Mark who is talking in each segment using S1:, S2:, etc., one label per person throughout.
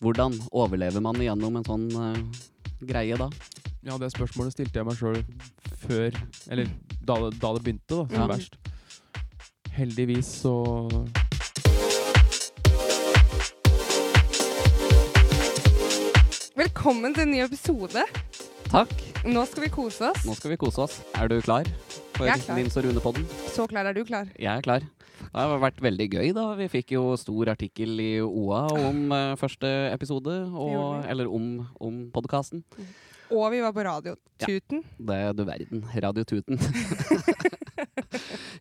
S1: Hvordan overlever man gjennom en sånn eh, greie da?
S2: Ja, det spørsmålet stilte jeg meg sjøl før Eller da, det- da det begynte, da, som
S1: Ja.
S2: verst. Heldigvis så
S3: Velkommen til en ny episode.
S1: Takk.
S3: Nå skal vi kose oss.
S1: Nå skal vi kose oss. Er du klar for
S3: Jeg er klar.
S1: Nils og Rune-podden?
S3: Så klar er du klar.
S1: Jeg er klar. Det har vært veldig gøy, da. Vi fikk jo stor artikkel i OA om eh, første episode,
S3: gjorde
S1: og,
S3: vi.
S1: eller om, om podkasten.
S3: Og vi var på radio. Tuten.
S1: Det er du verden. Radio Tuten.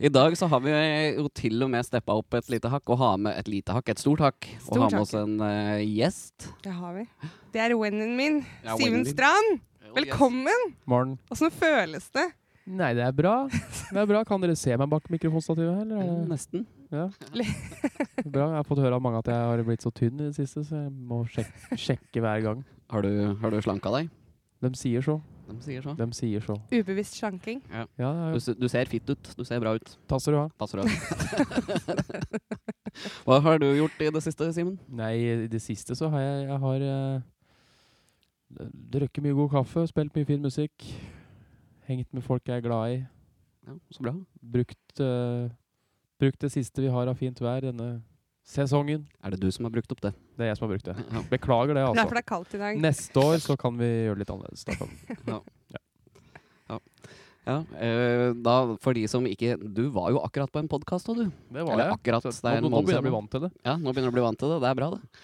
S1: I dag så har vi jo til og med steppa opp et lite hakk, og har med et lite hakk, et stort hakk.
S3: Stort
S1: og har
S3: hakk.
S1: med oss en eh, gjest.
S3: Det har vi. Det er wennen min.
S1: Ja,
S3: Simen
S1: wennen din.
S2: Oh,
S3: Strand. Velkommen.
S2: Morgen.
S3: Åssen føles det?
S2: Nei, det er bra. Det er bra. Kan dere se meg bak mikrofonstativet? her, Eller? er det-
S1: Nesten.
S2: Ja. Bra. Jeg har fått høre av mange at jeg har blitt så tynn i det siste, så jeg må sjek sjekke hver gang.
S1: Har du, har du slanka deg?
S2: De sier så.
S1: De sier så.
S2: De sier så.
S3: Ubevisst slanking.
S2: Ja,
S1: Du,
S2: ja.
S1: se- du ser fitt ut. Du ser bra ut.
S2: Tasser du har?
S1: Passer du Hva har du gjort i det siste, Simen?
S2: Nei, i det siste så har jeg, jeg har eh, drukket mye god kaffe, spilt mye fin musikk, hengt med folk jeg er glad i,
S1: Ja, så bra.
S2: brukt, eh, brukt det siste vi har av fint vær denne sesongen.
S1: Er det du som har brukt opp det?
S2: Det er jeg som har brukt det.
S1: Ja.
S2: Beklager det,
S3: Derfor
S2: altså.
S3: det er kaldt i dag.
S2: Neste år så kan vi gjøre det litt annerledes. Da kan.
S1: Ja, eh, da For de som ikke Du var jo akkurat på en podkast, du.
S2: Det
S1: Eller akkurat.
S2: Så,
S1: det er en
S2: nå, nå
S1: måned siden.
S2: begynner jeg å bli vant til det.
S1: Ja, nå begynner du å bli vant til det. Det er bra, det.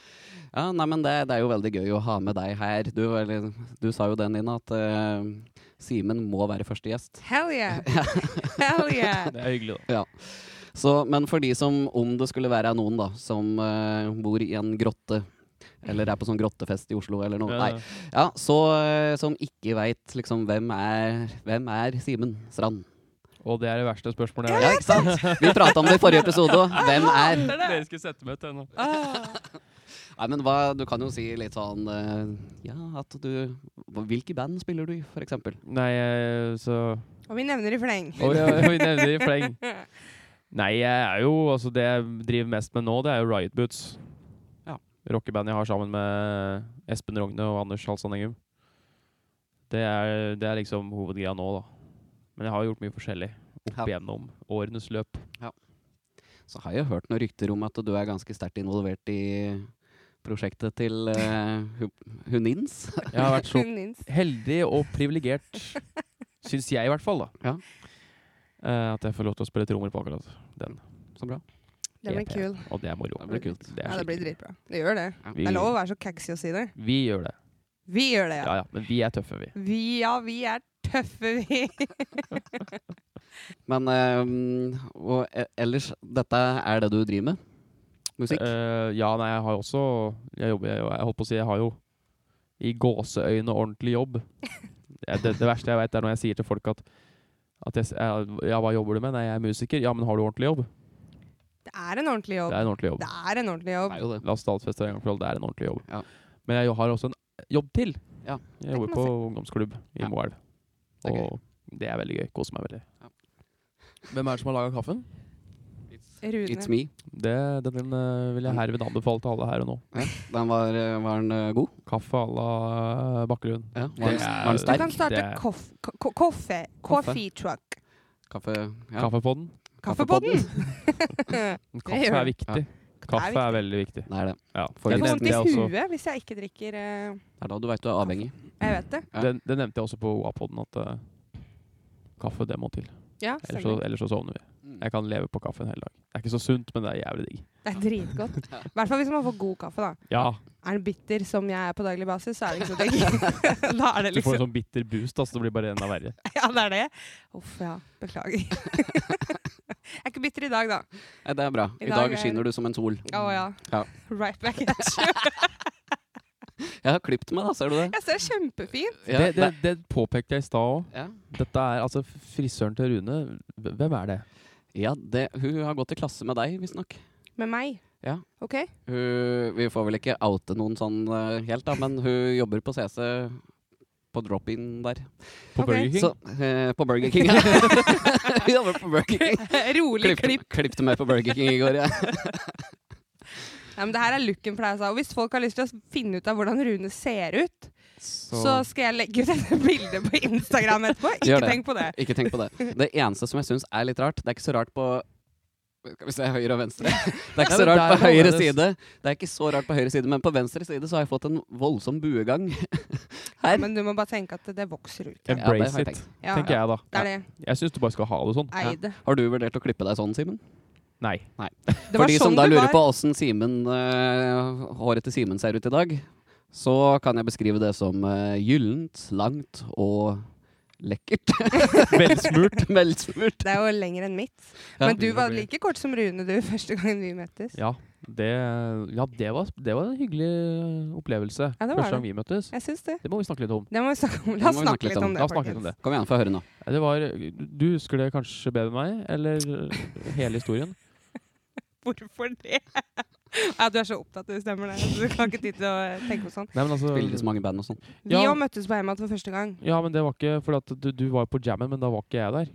S1: Ja, nei, men det, det er jo veldig gøy å ha med deg her. Du, eller, du sa jo det, Nina, at eh, Simen må være første gjest.
S3: Hell yeah. Hell yeah.
S2: Det er hyggelig, da.
S1: Så, men for de som, om det skulle være noen da, som eh, bor i en grotte, eller er på sånn grottefest i Oslo eller noe, nei, ja, så eh, som ikke veit liksom hvem er, hvem er Simen Strand?
S2: Og det er det verste spørsmålet jeg
S1: Ja, ikke sant? Vi prata om det i forrige episode òg. Hvem er
S3: Hater det.
S2: skal sette meg til nå.
S3: Ah.
S1: Nei, men hva, Du kan jo si litt sånn eh, Ja, at du Hvilke band spiller du i, for eksempel?
S2: Nei, eh, så
S3: Og vi nevner i fleng.
S2: Oi, oi, oi, nevner i fleng. Nei, jeg er jo Altså, det jeg driver mest med nå, det er jo Riot Boots.
S1: Ja.
S2: Rockebandet jeg har sammen med Espen Rogne og Anders Halsand Engum. Det er, det er liksom hovedgreia nå, da. Men jeg har gjort mye forskjellig opp
S1: Ja.
S2: igjennom årenes løp.
S1: Så har jeg hørt noen rykter om at du er ganske sterkt involvert i prosjektet til eh, Hu- Hunins.
S2: Jeg har vært så
S3: Hun nins.
S2: heldig og privilegert, syns jeg i hvert fall, da.
S1: Ja.
S2: Eh, at jeg får lov til å spille trommer på akkurat den.
S1: Så bra.
S3: Det blir
S2: EP.
S3: kul.
S2: Og det er moro.
S1: Det blir kult.
S2: Det er
S3: Ja, det
S2: skikkelig
S3: blir
S2: kult.
S3: dritbra. Det gjør det.
S2: Vi,
S3: Det er lov å være så caxy og si det.
S2: vi gjør det.
S3: Vi gjør det, ja.
S2: Ja ja. Men vi er tøffe, vi.
S3: Vi, ja, vi er tøffe, vi.
S1: Men eh, og e- ellers, dette er det du driver med? Musikk?
S2: Eh, ja, nei, jeg har jo også Jeg jobber, jeg, jeg holdt på å si, jeg har jo i gåseøyne ordentlig jobb. Det, det, det verste jeg veit, er når jeg sier til folk at, at jeg, s- jeg, Ja, hva jobber du med? Nei, jeg er musiker. Ja, men har du ordentlig jobb?
S3: Det er en ordentlig
S2: Det
S3: jobb.
S2: er en ordentlig jobb.
S3: Det er en ordentlig jobb.
S1: Det er jo det.
S2: La oss stadfeste det en gang for alle, det er en ordentlig jobb.
S1: Ja.
S2: Men jeg har også en jobb til.
S1: Ja.
S2: Jeg jobber
S3: Det
S2: på
S3: kan
S2: ungdomsklubb i
S1: Ja.
S2: Moelv.
S1: Det er gøy.
S2: Og det er veldig gøy. Koser meg veldig.
S1: Ja.
S2: Hvem er det som har laga kaffen?
S3: Rune.
S1: It's me.
S2: Det, den, den eh, vil jeg herved anbefale til alle her og nå.
S1: Ja, den var, eh, var den eh, god?
S2: Kaffe à la Bakkerud.
S1: Ja, var, den,
S2: Det er-
S1: var den
S3: Du kan
S1: sterk?
S3: starte
S2: Det er-
S3: koff- ko- ko- koffe. Coffee truck.
S1: Kaffe? Ja.
S2: Kaffepodden.
S3: Kaffepodden! Det
S2: Kaffe
S3: gjør
S2: er
S3: det.
S2: viktig.
S3: Det
S2: Kaffe
S3: er
S2: er veldig viktig.
S1: Det er det.
S2: Ja,
S1: For
S3: Jeg
S2: den,
S3: får vondt
S2: nevnte
S3: i
S2: jeg også,
S3: huet hvis jeg ikke drikker eh,
S1: Det er da du veit du er avhengig.
S3: Jeg vet det.
S1: Ja.
S2: den, den nevnte jeg også på OA-podden at eh, kaffe, det må til.
S3: Ja,
S2: Ellers så,
S3: stemmer.
S2: ellers så sovner vi.
S1: Mm.
S2: Jeg kan leve på kaffe en hel dag. Det er ikke så sunt, men det er jævlig digg.
S3: Det er dritgodt. I hvert fall hvis man får god kaffe, da.
S2: Ja,
S3: Er den bitter som jeg er på daglig basis, så er det ikke så digg. da er
S2: Du får en
S3: det liksom
S2: sånn bitter boost, altså. Det blir bare enda verre.
S3: Ja, det er det. Uff, ja. Beklager. jeg er ikke bitter i dag, da.
S1: Nei, det er bra. I,
S3: I dag
S1: dag,
S3: er-
S1: skinner du som en sol.
S3: Å ja.
S1: Ja.
S3: Right back at you.
S1: Jeg har klipt meg, da. Ser du det?
S3: Jeg ser kjempefint.
S1: Ja,
S2: det, det, det påpekte jeg i stad òg.
S1: ja.
S2: Dette er altså frisøren til Rune. Hvem er det?
S1: ja det, hun har gått i klasse med deg, visstnok.
S3: Med meg.
S1: Ja.
S3: OK?
S1: Hun- Vi får vel ikke oute noen sånn eh, helt, da, men hun jobber på CC på drop-in der.
S2: På
S3: Ok.
S2: Burger King?
S1: Så, eh, på Burger King, ja. hun jobber på Burger King.
S3: Rolig klipp.
S1: Klippte meg på Burger King i går, ja.
S3: Nei, men det her er looken for deg, altså. Og hvis folk har lyst til å finne ut av hvordan Rune ser ut, så, skal jeg legge ut et bilde på Instagram etterpå.
S1: Gjør
S3: Ikke
S1: det.
S3: tenk på det.
S1: Ikke tenk på det. Det eneste som jeg syns er litt rart, det er ikke så rart på skal vi se, høyre og venstre. Det er ikke
S2: Ja,
S1: så
S2: men
S1: rart på
S2: der er
S1: høyre
S2: det
S1: side, Det er ikke så rart på høyre side, men på venstre side så har jeg fått en voldsom buegang.
S3: Ja,
S1: Her.
S3: men du må bare tenke at det vokser ut.
S1: Ja, det
S2: Embrace
S1: har jeg
S2: it,
S1: tenkt.
S3: Ja,
S2: tenker jeg da.
S3: det er det.
S2: Jeg syns du bare skal ha det sånn.
S3: Eid. det.
S1: Har du vurdert å klippe deg sånn, Simen?
S2: Nei.
S1: For
S3: var
S1: de som
S3: sånn
S1: da
S3: det
S1: lurer
S3: var.
S1: på åssen Simen, eh, håret til Simen ser ut i dag, så kan jeg beskrive det som eh, gyllent, langt og lekkert.
S2: Velsmurt.
S1: Velsmurt.
S3: Det er jo lenger enn mitt.
S1: Ja.
S3: Men du
S2: Det
S3: var
S2: blir-
S3: like kort som Rune du første gangen vi møttes.
S2: Ja, det, ja det, var, det var en hyggelig opplevelse.
S3: Ja, det var
S2: Første gang vi møttes.
S3: Jeg syns det.
S2: Det må vi snakke litt om.
S3: Det må vi snakke om.
S1: Det
S3: La
S1: må vi
S3: oss
S1: snakke
S3: snakke
S1: litt
S3: litt
S1: om.
S3: om
S2: La
S3: det,
S2: oss snakke litt om
S3: folkens.
S2: det.
S1: Kom igjen, få høre nå.
S2: Ja, Det var, du husker det kanskje bedre enn meg, eller eh, hele historien.
S3: Hvorfor det? Ja, du er så opptatt, det stemmer det. Du kan ikke tid til å tenke på sånn.
S2: Nei, men altså,
S1: Spiller i så mange band og sånn.
S3: Vi
S2: Ja.
S3: òg møttes på Heimat for første gang.
S2: ja, men det var ikke fordi at du, du var på jammen, men da var ikke jeg der.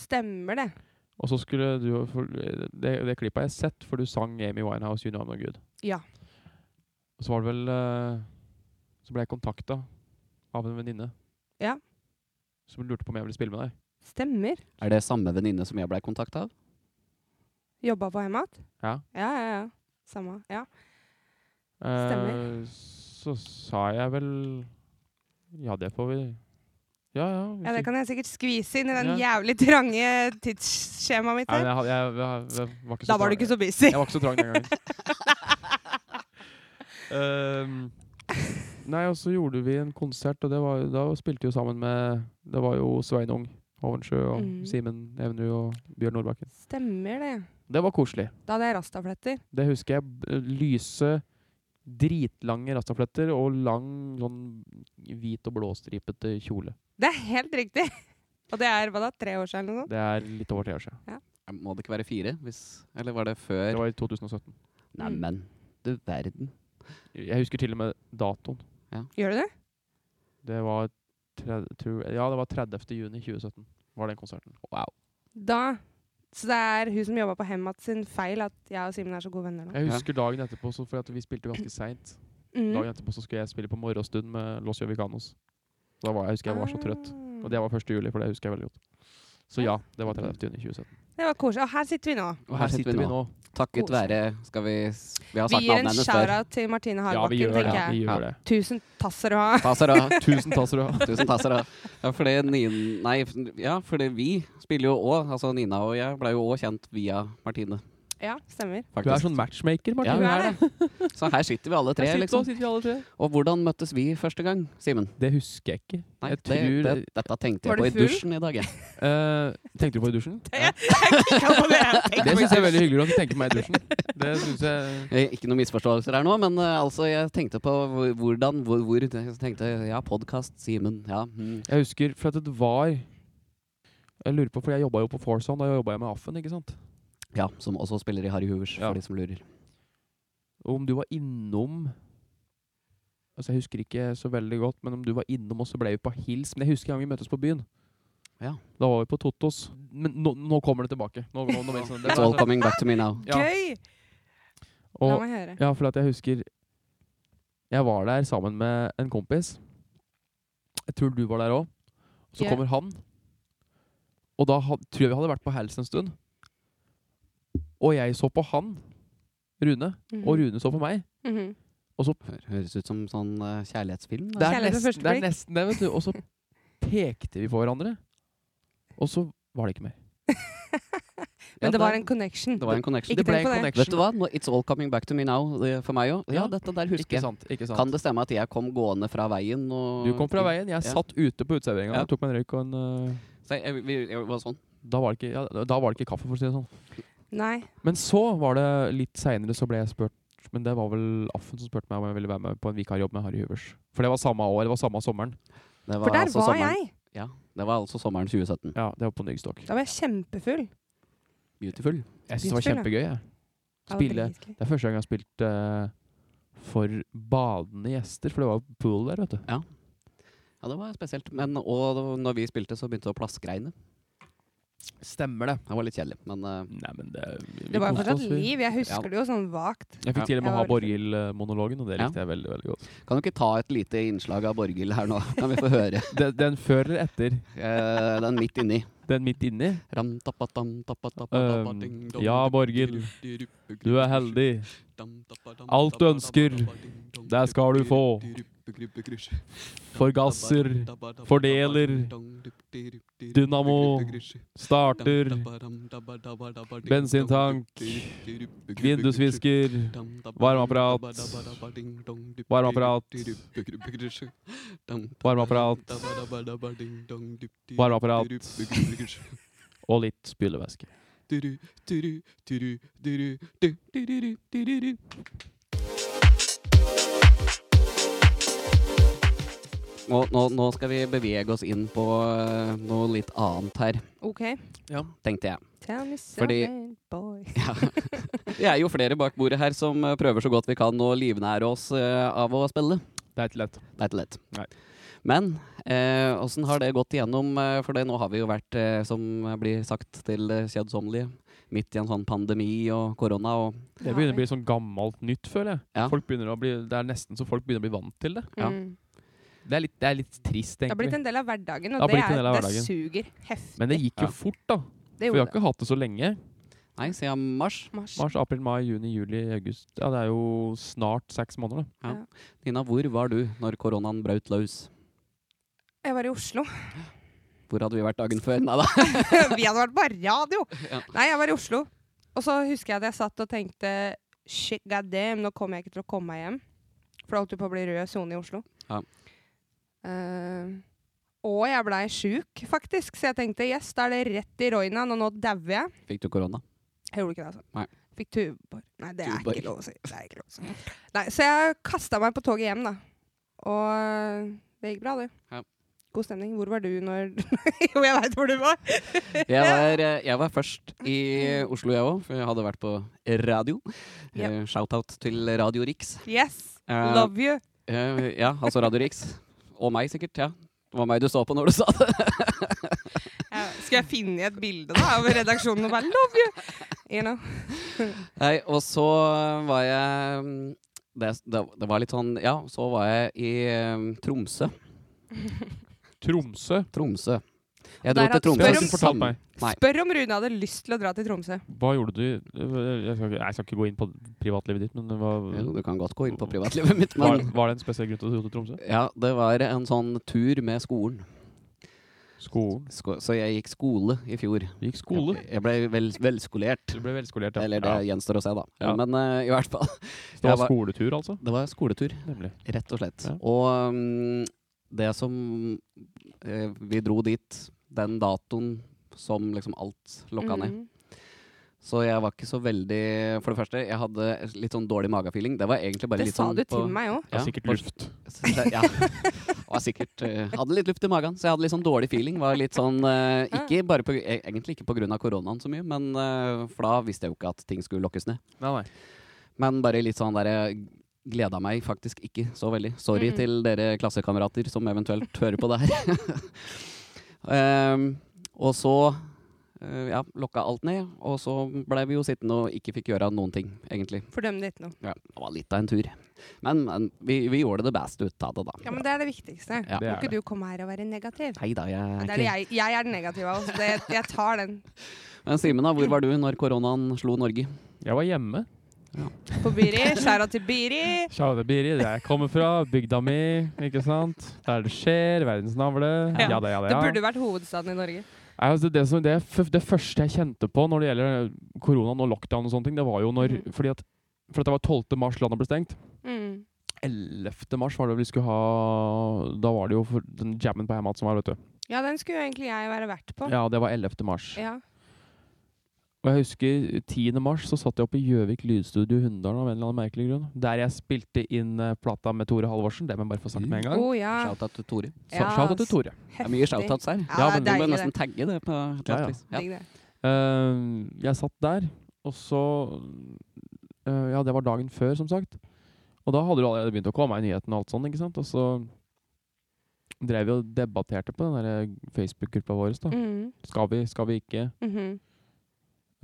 S3: Stemmer det?
S2: Og så skulle du for, Det, det klippet har jeg sett, for du sang Amy Winehouse, You Know I'm No Good.
S3: Ja.
S2: Og så var det vel eh, Så ble jeg kontakta av en venninne.
S3: Ja.
S2: Som lurte på om jeg ville spille med deg.
S3: Stemmer.
S1: Er det samme venninne som jeg blei kontakta av?
S3: Jobba på Heimat?
S2: Ja.
S3: Ja, ja, ja. Samme. Ja.
S2: Eh,
S3: Stemmer.
S2: så sa jeg vel Ja, det får vi Ja, ja. hvis
S3: ja, det
S2: du-
S3: kan jeg sikkert skvise inn i den jævlig trange tidsskjemaet mitt
S2: Nei, men
S3: her.
S2: jeg, had- jeg, jeg, jeg, var ikke så
S3: Da var du
S2: trang-
S3: ikke så busy.
S2: Jeg var ikke så trang den gangen. Ehm, nei, og så gjorde vi en konsert, og det var, da spilte vi jo sammen med Det var jo Sveinung Hovensjø og
S3: Mm.
S2: Simen Evenrud og Bjørn Nordbakken.
S3: Stemmer det.
S2: Det var koselig.
S3: Da hadde jeg rastafletter.
S2: Det husker jeg. b- Lyse, dritlange rastafletter og lang, sånn hvit og blåstripete kjole.
S3: Det er helt riktig. Og det er hva da, tre år siden eller noe sånt?
S2: Det er litt over tre år siden.
S1: Må det ikke være fire? Hvis, eller var det
S2: Det
S1: før?
S2: var i 2017.
S1: Neimen, du verden.
S2: Jeg husker til og med datoen.
S3: Gjør du det?
S2: Det var, tre, tror, ja, det var 30. juni 2017 var den konserten. Wow.
S3: Da. Så det er hun som jobba på Hemmat sin feil at jeg og Simen er så gode venner nå.
S2: Jeg husker dagen etterpå, så for at vi spilte ganske seint. Dagen
S3: Mm.
S2: etterpå så skulle jeg spille på morgenstund med Los Jovicanos. Da var jeg, husker jeg var så trøtt.
S3: Ah.
S2: Og det var 1. juli, for det husker jeg veldig godt. Så ja, det var 30. juni 2017.
S3: Det var koselig. Og her sitter vi nå.
S2: Og her sitter vi nå.
S1: Takket
S3: Koselig.
S1: være Skal vi s- Vi har
S3: Vi
S1: sagt
S3: gir
S1: navnet
S3: en
S1: hennes før.
S3: shout-out til Martine
S2: Ja, vi
S3: Hardbakken,
S2: gjør det.
S3: tenker
S2: Vi
S3: jeg.
S2: gjør det.
S3: Tusen tasser å ha.
S1: Tasser av.
S2: Tusen takk skal du ha.
S1: Tusen tasser av. Ja, for det Nina Nei, f- ja, for det vi spiller jo òg. Altså Nina og jeg ble jo òg kjent via Martine,
S3: Ja, stemmer.
S1: faktisk.
S2: Du er sånn matchmaker,
S1: Ja,
S2: Martin.
S1: hun
S3: Hun
S1: er
S3: er
S1: det. Så her sitter vi alle tre,
S2: Her sitter-
S1: liksom.
S2: sitter vi alle tre.
S1: Og hvordan møttes vi første gang, Simen?
S2: Det husker jeg ikke.
S1: Nei,
S2: Jeg
S1: det,
S2: tror-
S1: det, dette tenkte
S3: Var
S1: jeg på
S3: du
S1: i
S3: full?
S1: dusjen i dag, jeg.
S2: Eh, tenkte du på i dusjen?
S3: Kikka på det jeg
S2: Det
S3: tenkte på.
S2: syns jeg er veldig hyggelig å tenke meg i dusjen. Det synes jeg...
S1: Eh, Ikke noen misforståelser her nå, men eh, altså, jeg tenkte på hvor- hvordan hvor, hvor Jeg tenkte ja, podkast, Simen, ja. Mm.
S2: Jeg husker, for at det var Jeg lurer på, for jeg jobba jo på Forson, da jobba jeg med Affen, ikke sant?
S1: Ja, som også spiller i Harry Hoovers,
S2: Ja.
S1: for de som lurer.
S2: Og om du var innom Altså Jeg husker ikke så veldig godt, men om du var innom, og så ble vi på hils. Men jeg husker en gang vi møttes på byen.
S1: Ja.
S2: Da var vi på Totos. Men nå, nå kommer det tilbake. Nå, nå, nå, blir det sånn-
S1: It's all coming back to me now.
S2: Ja.
S3: Gøy! La
S2: Og,
S3: meg høre.
S2: ja, for at jeg husker Jeg var der sammen med en kompis. Jeg tror du var der òg. Så
S3: Ja.
S2: kommer han. Og da ha, tror jeg vi hadde vært på Hells en stund. Og jeg så på han, Rune,
S3: Mhm.
S2: og Rune så på meg.
S3: Mhm.
S1: Hør- Høres ut som sånn eh, kjærlighetsfilm.
S2: Det
S1: Da.
S2: er,
S3: Kjærlighet
S2: nesten,
S3: ved første
S2: det er
S3: blikk.
S2: nesten det, vet du. Og så pekte vi på hverandre. Og så var det ikke mer.
S1: Ja,
S3: Men det
S1: det-
S3: var en connection.
S1: Det var en connection.
S3: Ikke
S2: det ble
S3: tenk
S2: en
S3: på det.
S2: connection.
S1: Vet du hva? Nå- It's all coming back to me now det, for meg òg. Ja,
S2: Ja.
S1: dette der husker
S2: Ikke
S1: jeg.
S2: sant. ikke sant.
S1: Kan det stemme at jeg kom gående fra veien? Og
S2: Du kom fra veien. Jeg
S1: Ja.
S2: satt ute på uteserveringa
S1: Ja.
S2: og tok meg en røyk og en øh,
S1: Så jeg, vi, jeg var sånn.
S2: da, var det ikke, ja, da var det ikke kaffe, for å si det sånn.
S3: Nei.
S2: Men så var det litt seinere så ble jeg spurt Men det var vel Affen som spurte meg om jeg ville være med på en vikarjobb med Harry Huvers. For det var samme år, det var samme sommeren.
S1: Det
S3: For der
S1: altså
S3: var
S1: sommeren,
S3: jeg.
S1: Ja, det var altså sommeren 2017.
S2: Ja, det var på Nygstok.
S3: Da var jeg kjempefull.
S1: Beautiful.
S2: Jeg syns det var
S3: Spille.
S2: kjempegøy. Jeg.
S3: Ja, det var
S2: Spille.
S3: dritgøy.
S2: Det er første gang jeg har spilt eh, for badende gjester, for det var jo pool der, vet du.
S1: Ja, det var spesielt. Men og når vi spilte, så begynte det å plaskregne.
S2: Stemmer det.
S1: Det var litt kjedelig, men eh,
S2: Nei, men det, vi,
S3: Det var jo
S2: koste
S3: fortsatt
S2: oss, vi.
S3: liv. Jeg husker det jo sånn vagt.
S2: Jeg fikk til og med
S3: Ja.
S2: ha Borghild-monologen, og det
S1: Ja.
S2: likte jeg veldig veldig godt.
S1: kan du ikke ta et lite innslag av Borghild her nå? Kan vi få høre
S2: Den, den før eller etter?
S1: eh, den midt inni?
S2: Den midt inni?
S1: Ram, tappa, tam, tappa, tappa, tappa,
S2: Øhm,
S1: ding, dong,
S2: Ehm, ja, Borghild. Du er heldig. Alt du ønsker, det skal du få. Forgasser, fordeler, dynamo, starter, bensintank, vindusvisker, varmeapparat, varmeapparat, varmeapparat, varmeapparat og litt spylevæske.
S1: Nå, nå, nå skal vi bevege oss inn på eh, noe litt annet her,
S3: OK.
S1: tenkte jeg.
S3: Tell me
S1: Fordi-
S3: something, boy.
S1: Ja. Vi er jo flere bak bordet her som eh, prøver så godt vi kan å livnære oss eh, av å spille.
S2: Det er ikke lett.
S1: Det er ikke lett.
S2: Nei.
S1: Men eh, åssen har det gått igjennom? eh, For det, nå har vi jo vært, eh, som blir sagt til det kjedsommelige, midt i en sånn pandemi og korona og
S2: Det begynner å bli sånn gammelt nytt, føler jeg.
S1: Ja.
S2: Folk begynner å bli, det er nesten så folk begynner å bli vant til det.
S1: ja.
S3: Mm.
S2: Det er litt, det er litt trist,
S3: Det har blitt
S2: egentlig.
S3: en del av hverdagen,
S2: Det har
S3: og det,
S2: blitt en
S3: er,
S2: del av
S3: det
S2: hverdagen.
S3: suger heftig.
S2: Men det gikk
S1: Ja.
S2: jo fort, da.
S3: det
S2: For vi
S3: gjorde
S2: har ikke hatt det så lenge.
S1: Nei, siden mars.
S3: det. Mars.
S2: Mars, april, mai, juni, juli, august. Ja, det er jo snart seks måneder, da.
S1: Nina, hvor var du når koronaen brøt løs?
S3: Jeg var i Oslo.
S1: Hvor hadde vi vært dagen før? Nei da.
S3: vi hadde vært på radio!
S1: Ja.
S3: Nei, jeg var i Oslo. Og så husker jeg at jeg satt og tenkte Shit, god damn, nå kommer jeg ikke til å komme meg hjem. For det holdt jo på å bli rød sone i Oslo.
S1: Ja.
S3: Eh, og jeg blei sjuk, faktisk. Så jeg tenkte yes, da er det rett i roinaen, og nå dauer jeg.
S1: Fikk du korona?
S3: Jeg gjorde ikke det, altså.
S1: Nei.
S3: Fikk tubor. Nei, det er
S1: Tuborg.
S3: ikke lov å si. Det er ikke lov å si. Nei, så jeg kasta meg på toget hjem, da. Og eh, det gikk bra, det.
S1: Ja.
S3: God stemning. Hvor var du når Jo, jeg veit hvor du var!
S1: Jeg var, eh, jeg var først i Oslo, jeg òg, for jeg hadde vært på radio.
S3: Ja.
S1: Eh, Shout-out til Radio Rix.
S3: Yes!
S1: Eh,
S3: Love you!
S1: eh, ja, altså Radio Rix. Og meg, sikkert. ja. Det var meg du så på når du sa det.
S3: Ja, Skal jeg finne et bilde da av redaksjonen og bare 'love you'? You know?
S1: Nei, og så eh, var jeg mm, det, det, det var litt sånn Ja, så var jeg i eh, Tromsø.
S2: Tromsø.
S1: Tromsø. Jeg
S3: Der
S1: dro
S3: har-
S1: til Tromsø.
S3: Spør
S2: Det har
S3: om-
S2: du ikke fortalt meg.
S1: Nei.
S3: Spør om Rune hadde lyst til å dra til Tromsø.
S2: Hva gjorde du Jeg skal ikke, jeg skal ikke gå inn på privatlivet ditt, men det var,
S1: Jo, du kan godt gå inn på privatlivet mitt,
S2: var,
S1: men
S2: var det en spesiell grunn til at du dro til Tromsø?
S1: ja, det var en sånn tur med skolen.
S2: Skolen.
S1: Sko så jeg gikk skole i fjor.
S2: Du gikk skole.
S1: Jeg, jeg ble vel velskolert.
S2: Du ble velskolert, ja.
S1: Eller det gjenstår å se, da.
S2: Ja.
S1: Men eh, i hvert fall.
S2: ja. Det
S1: jeg
S2: var
S1: var-
S2: skoletur, altså?
S1: Det var skoletur.
S2: Nemlig.
S1: Rett og slett.
S2: Ja.
S1: Og mm, det som eh, Vi dro dit den datoen som liksom alt lokka ned.
S3: Mhm.
S1: Så jeg var ikke så veldig For det første, jeg hadde litt sånn dårlig magefeeling. Det var egentlig bare
S3: Det
S1: litt
S3: sa
S1: sånn
S3: du til meg òg.
S2: Ja, sikkert luft.
S1: Ja. Var sikkert, eh, hadde litt luft i magen, så jeg hadde litt sånn dårlig feeling. Var litt sånn, eh, ikke bare på, e- Egentlig ikke pga. koronaen så mye, men eh, for da visste jeg jo ikke at ting skulle lokkes ned.
S2: Nei, nei.
S1: Men bare litt sånn derre Gleda meg faktisk ikke så veldig. Sorry
S3: Mhm.
S1: til dere klassekamerater som eventuelt hører på det her. Ehm, og så eh, ja, lokka alt ned, og så blei vi jo sittende og ikke fikk gjøre noen ting, egentlig.
S3: Fordømte ikke noe.
S1: Ja, det var litt av en tur. Men, men vi, vi gjorde det best ut av det, da.
S3: Ja, men det er det viktigste.
S1: Ja.
S2: Det
S3: Må
S2: er
S3: ikke
S2: det.
S3: du komme her og være negativ?
S1: Hei da, jeg
S3: Ja,
S1: er
S3: Det er
S1: ikke
S3: det jeg, jeg er den negative av oss. Det, jeg tar den
S1: Men Simen, da, hvor var du når koronaen slo Norge?
S2: Jeg var hjemme.
S3: på Biri. Skjæra til Biri.
S2: Sjave Biri, der jeg kommer fra. Bygda mi, ikke sant. Der det skjer. Verdens navle.
S3: Ja.
S2: Ja da, ja da,
S3: Det
S2: ja.
S3: burde vært hovedstaden i Norge.
S2: Nei, Altså, det, som, det, f det første jeg kjente på når det gjelder eh, koronaen og lockdown og sånne ting, det var jo når
S3: Mhm.
S2: fordi at, For at det var 12. mars landet ble stengt. 11. mars var det vi skulle ha Da var det jo for den jammen på Heimat som var, vet du.
S3: Ja, den skulle jo egentlig jeg være vert på.
S2: Ja, det var 11. mars.
S3: Ja.
S2: Og jeg husker 10. mars så satt jeg oppe i Gjøvik lydstudio i Hunndalen av en eller annen merkelig grunn. Der jeg spilte inn eh, plata med Tore Halvorsen. Det må jeg bare få sagt med en
S3: Å
S2: gang.
S3: ja.
S1: Shoutout til Tore.
S2: Så- Shout out til Tore.
S1: Det er mye shoutouts her.
S3: Ja,
S2: Ja, men
S3: det
S1: Du
S3: er
S1: må
S3: deilig,
S1: nesten
S3: det.
S1: tagge det. på et eller
S2: Ja, ja.
S1: annet vis. Ja.
S3: Digg det.
S2: Eh, jeg satt der, og så eh, Ja, det var dagen før, som sagt. Og da hadde det allerede begynt å komme i nyhetene og alt sånt, ikke sant. Og så drev jo og debatterte på den der eh, Facebook-gruppa vår. da.
S3: Mm.
S2: Skal vi, skal vi ikke?
S3: Mhm.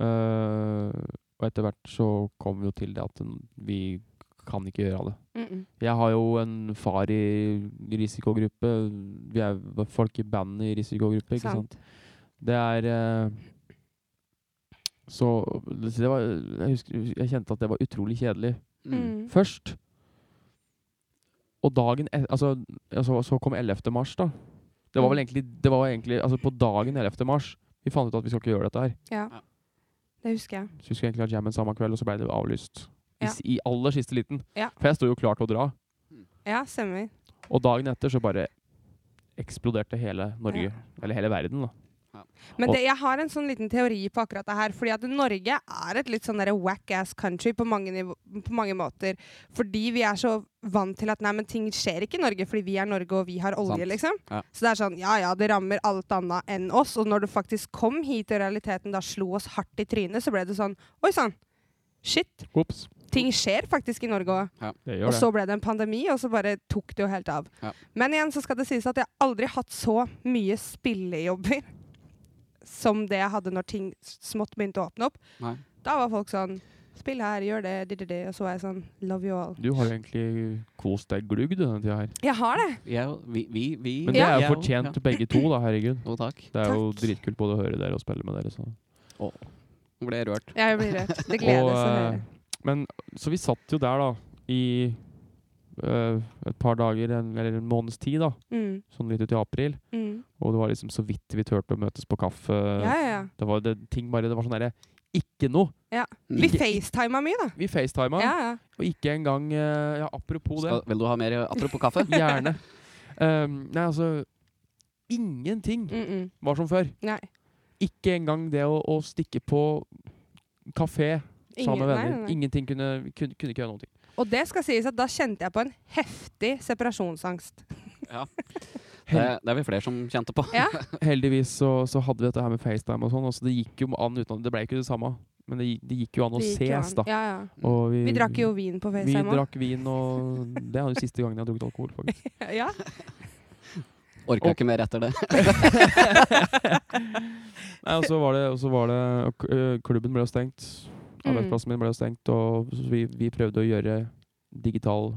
S2: Eh, og etter hvert så kom vi jo til det at n- vi kan ikke gjøre det.
S3: Mm-mm.
S2: Jeg har jo en far i risikogruppe. Vi er v- folk i bandet i risikogruppe, ikke sant?
S3: Sant.
S2: Det er eh, Så det det var jeg, husker, jeg kjente at det var utrolig kjedelig
S3: Mm.
S2: først. Og dagen et- Altså, altså så kom 11. mars, da. Det var
S3: Mm.
S2: vel egentlig, det var egentlig Altså, på dagen 11. mars vi fant ut at vi skal ikke gjøre dette her.
S3: Ja.
S1: Ja.
S3: Det husker jeg.
S2: Så vi skulle egentlig ha jammen samme kveld, og så ble det avlyst. I,
S3: Ja.
S2: s- I aller siste liten.
S3: Ja.
S2: For jeg sto jo klar til å dra.
S3: Ja, stemmer.
S2: Og dagen etter så bare eksploderte hele Norge.
S3: Ja.
S2: Eller hele verden, da.
S3: Men
S2: Og-
S3: det, jeg har en sånn liten teori på akkurat det her. Fordi at Norge er et litt sånn derre whack-ass country på mange, nivå, på mange måter. Fordi vi er så vant til at nei, men ting skjer ikke i Norge fordi vi er Norge og vi har olje,
S1: Sant.
S3: liksom.
S1: Ja.
S3: Så det er sånn ja ja, det rammer alt annet enn oss. Og når det faktisk kom hit og realiteten da slo oss hardt i trynet, så ble det sånn oi sann. Shit.
S2: Ops.
S3: Ting skjer faktisk i Norge òg.
S2: Det
S3: Og
S2: gjør det.
S3: så ble det en pandemi, og så bare tok det jo helt av.
S1: Ja.
S3: Men igjen så skal det sies at jeg aldri har hatt så mye spillejobber som det jeg hadde når ting smått begynte å åpne opp.
S1: Nei.
S3: Da var folk sånn Spill her, gjør det, di, di, di. Og så var jeg sånn Love you all.
S2: Du har jo egentlig kost deg glugg du, denne tida her.
S3: Jeg har det.
S1: Jeg, vi, vi, vi
S2: Men det er
S1: jeg
S2: jo
S1: også,
S2: fortjent
S1: ja.
S2: begge to, da. Herregud.
S1: Jo, takk.
S2: Det er jo
S3: Takk.
S2: dritkult både å høre dere og spille med dere. Så.
S1: Nå ble jeg rørt.
S3: Jeg blir rørt. Det gledes å
S2: eh,
S3: høre.
S2: men så vi satt jo der, da, i eh, et par dager, en, eller en måneds tid, da.
S3: Mm,
S2: Sånn litt ut i april.
S3: mm.
S2: Og det var liksom så vidt vi turte å møtes på kaffe.
S3: Ja, ja, ja.
S2: Det var det, ting bare Det var sånn derre Ikke noe!
S3: Vi facetima mye, da.
S2: Vi facetima,
S3: Ja, ja.
S2: og ikke engang eh, Ja, apropos det.
S1: Skal, vil du ha mer apropos kaffe?
S2: Gjerne. Um, nei, altså Ingenting
S3: Mm, mm.
S2: var som før.
S3: Nei.
S2: Ikke engang det å, å stikke på kafé sammen med venner. Ingenting kunne, kunne, kunne ikke gjøre noen ting.
S3: Og det skal sies at da kjente jeg på en heftig separasjonsangst.
S1: Det, det er vi flere som kjente på.
S3: Ja.
S2: Heldigvis så, så hadde vi dette her med FaceTime og sånn. Altså det gikk jo an utenom Det ble ikke det samme, men det, gikk- det gikk jo an å
S3: Det gikk jo
S2: ses,
S3: an.
S2: da.
S3: Ja, ja.
S2: Og
S3: Vi drakk jo vin på
S2: vi
S3: FaceTime òg.
S2: drakk vin, og det er jo siste gangen jeg har drukket alkohol, faktisk.
S3: Ja.
S1: Orka ikke mer etter det.
S2: Nei, og så var det, og så var det og k- øh, Klubben ble jo stengt.
S3: Mm.
S2: Arbeidsplassen min ble jo stengt, og så vi, vi prøvde å gjøre digital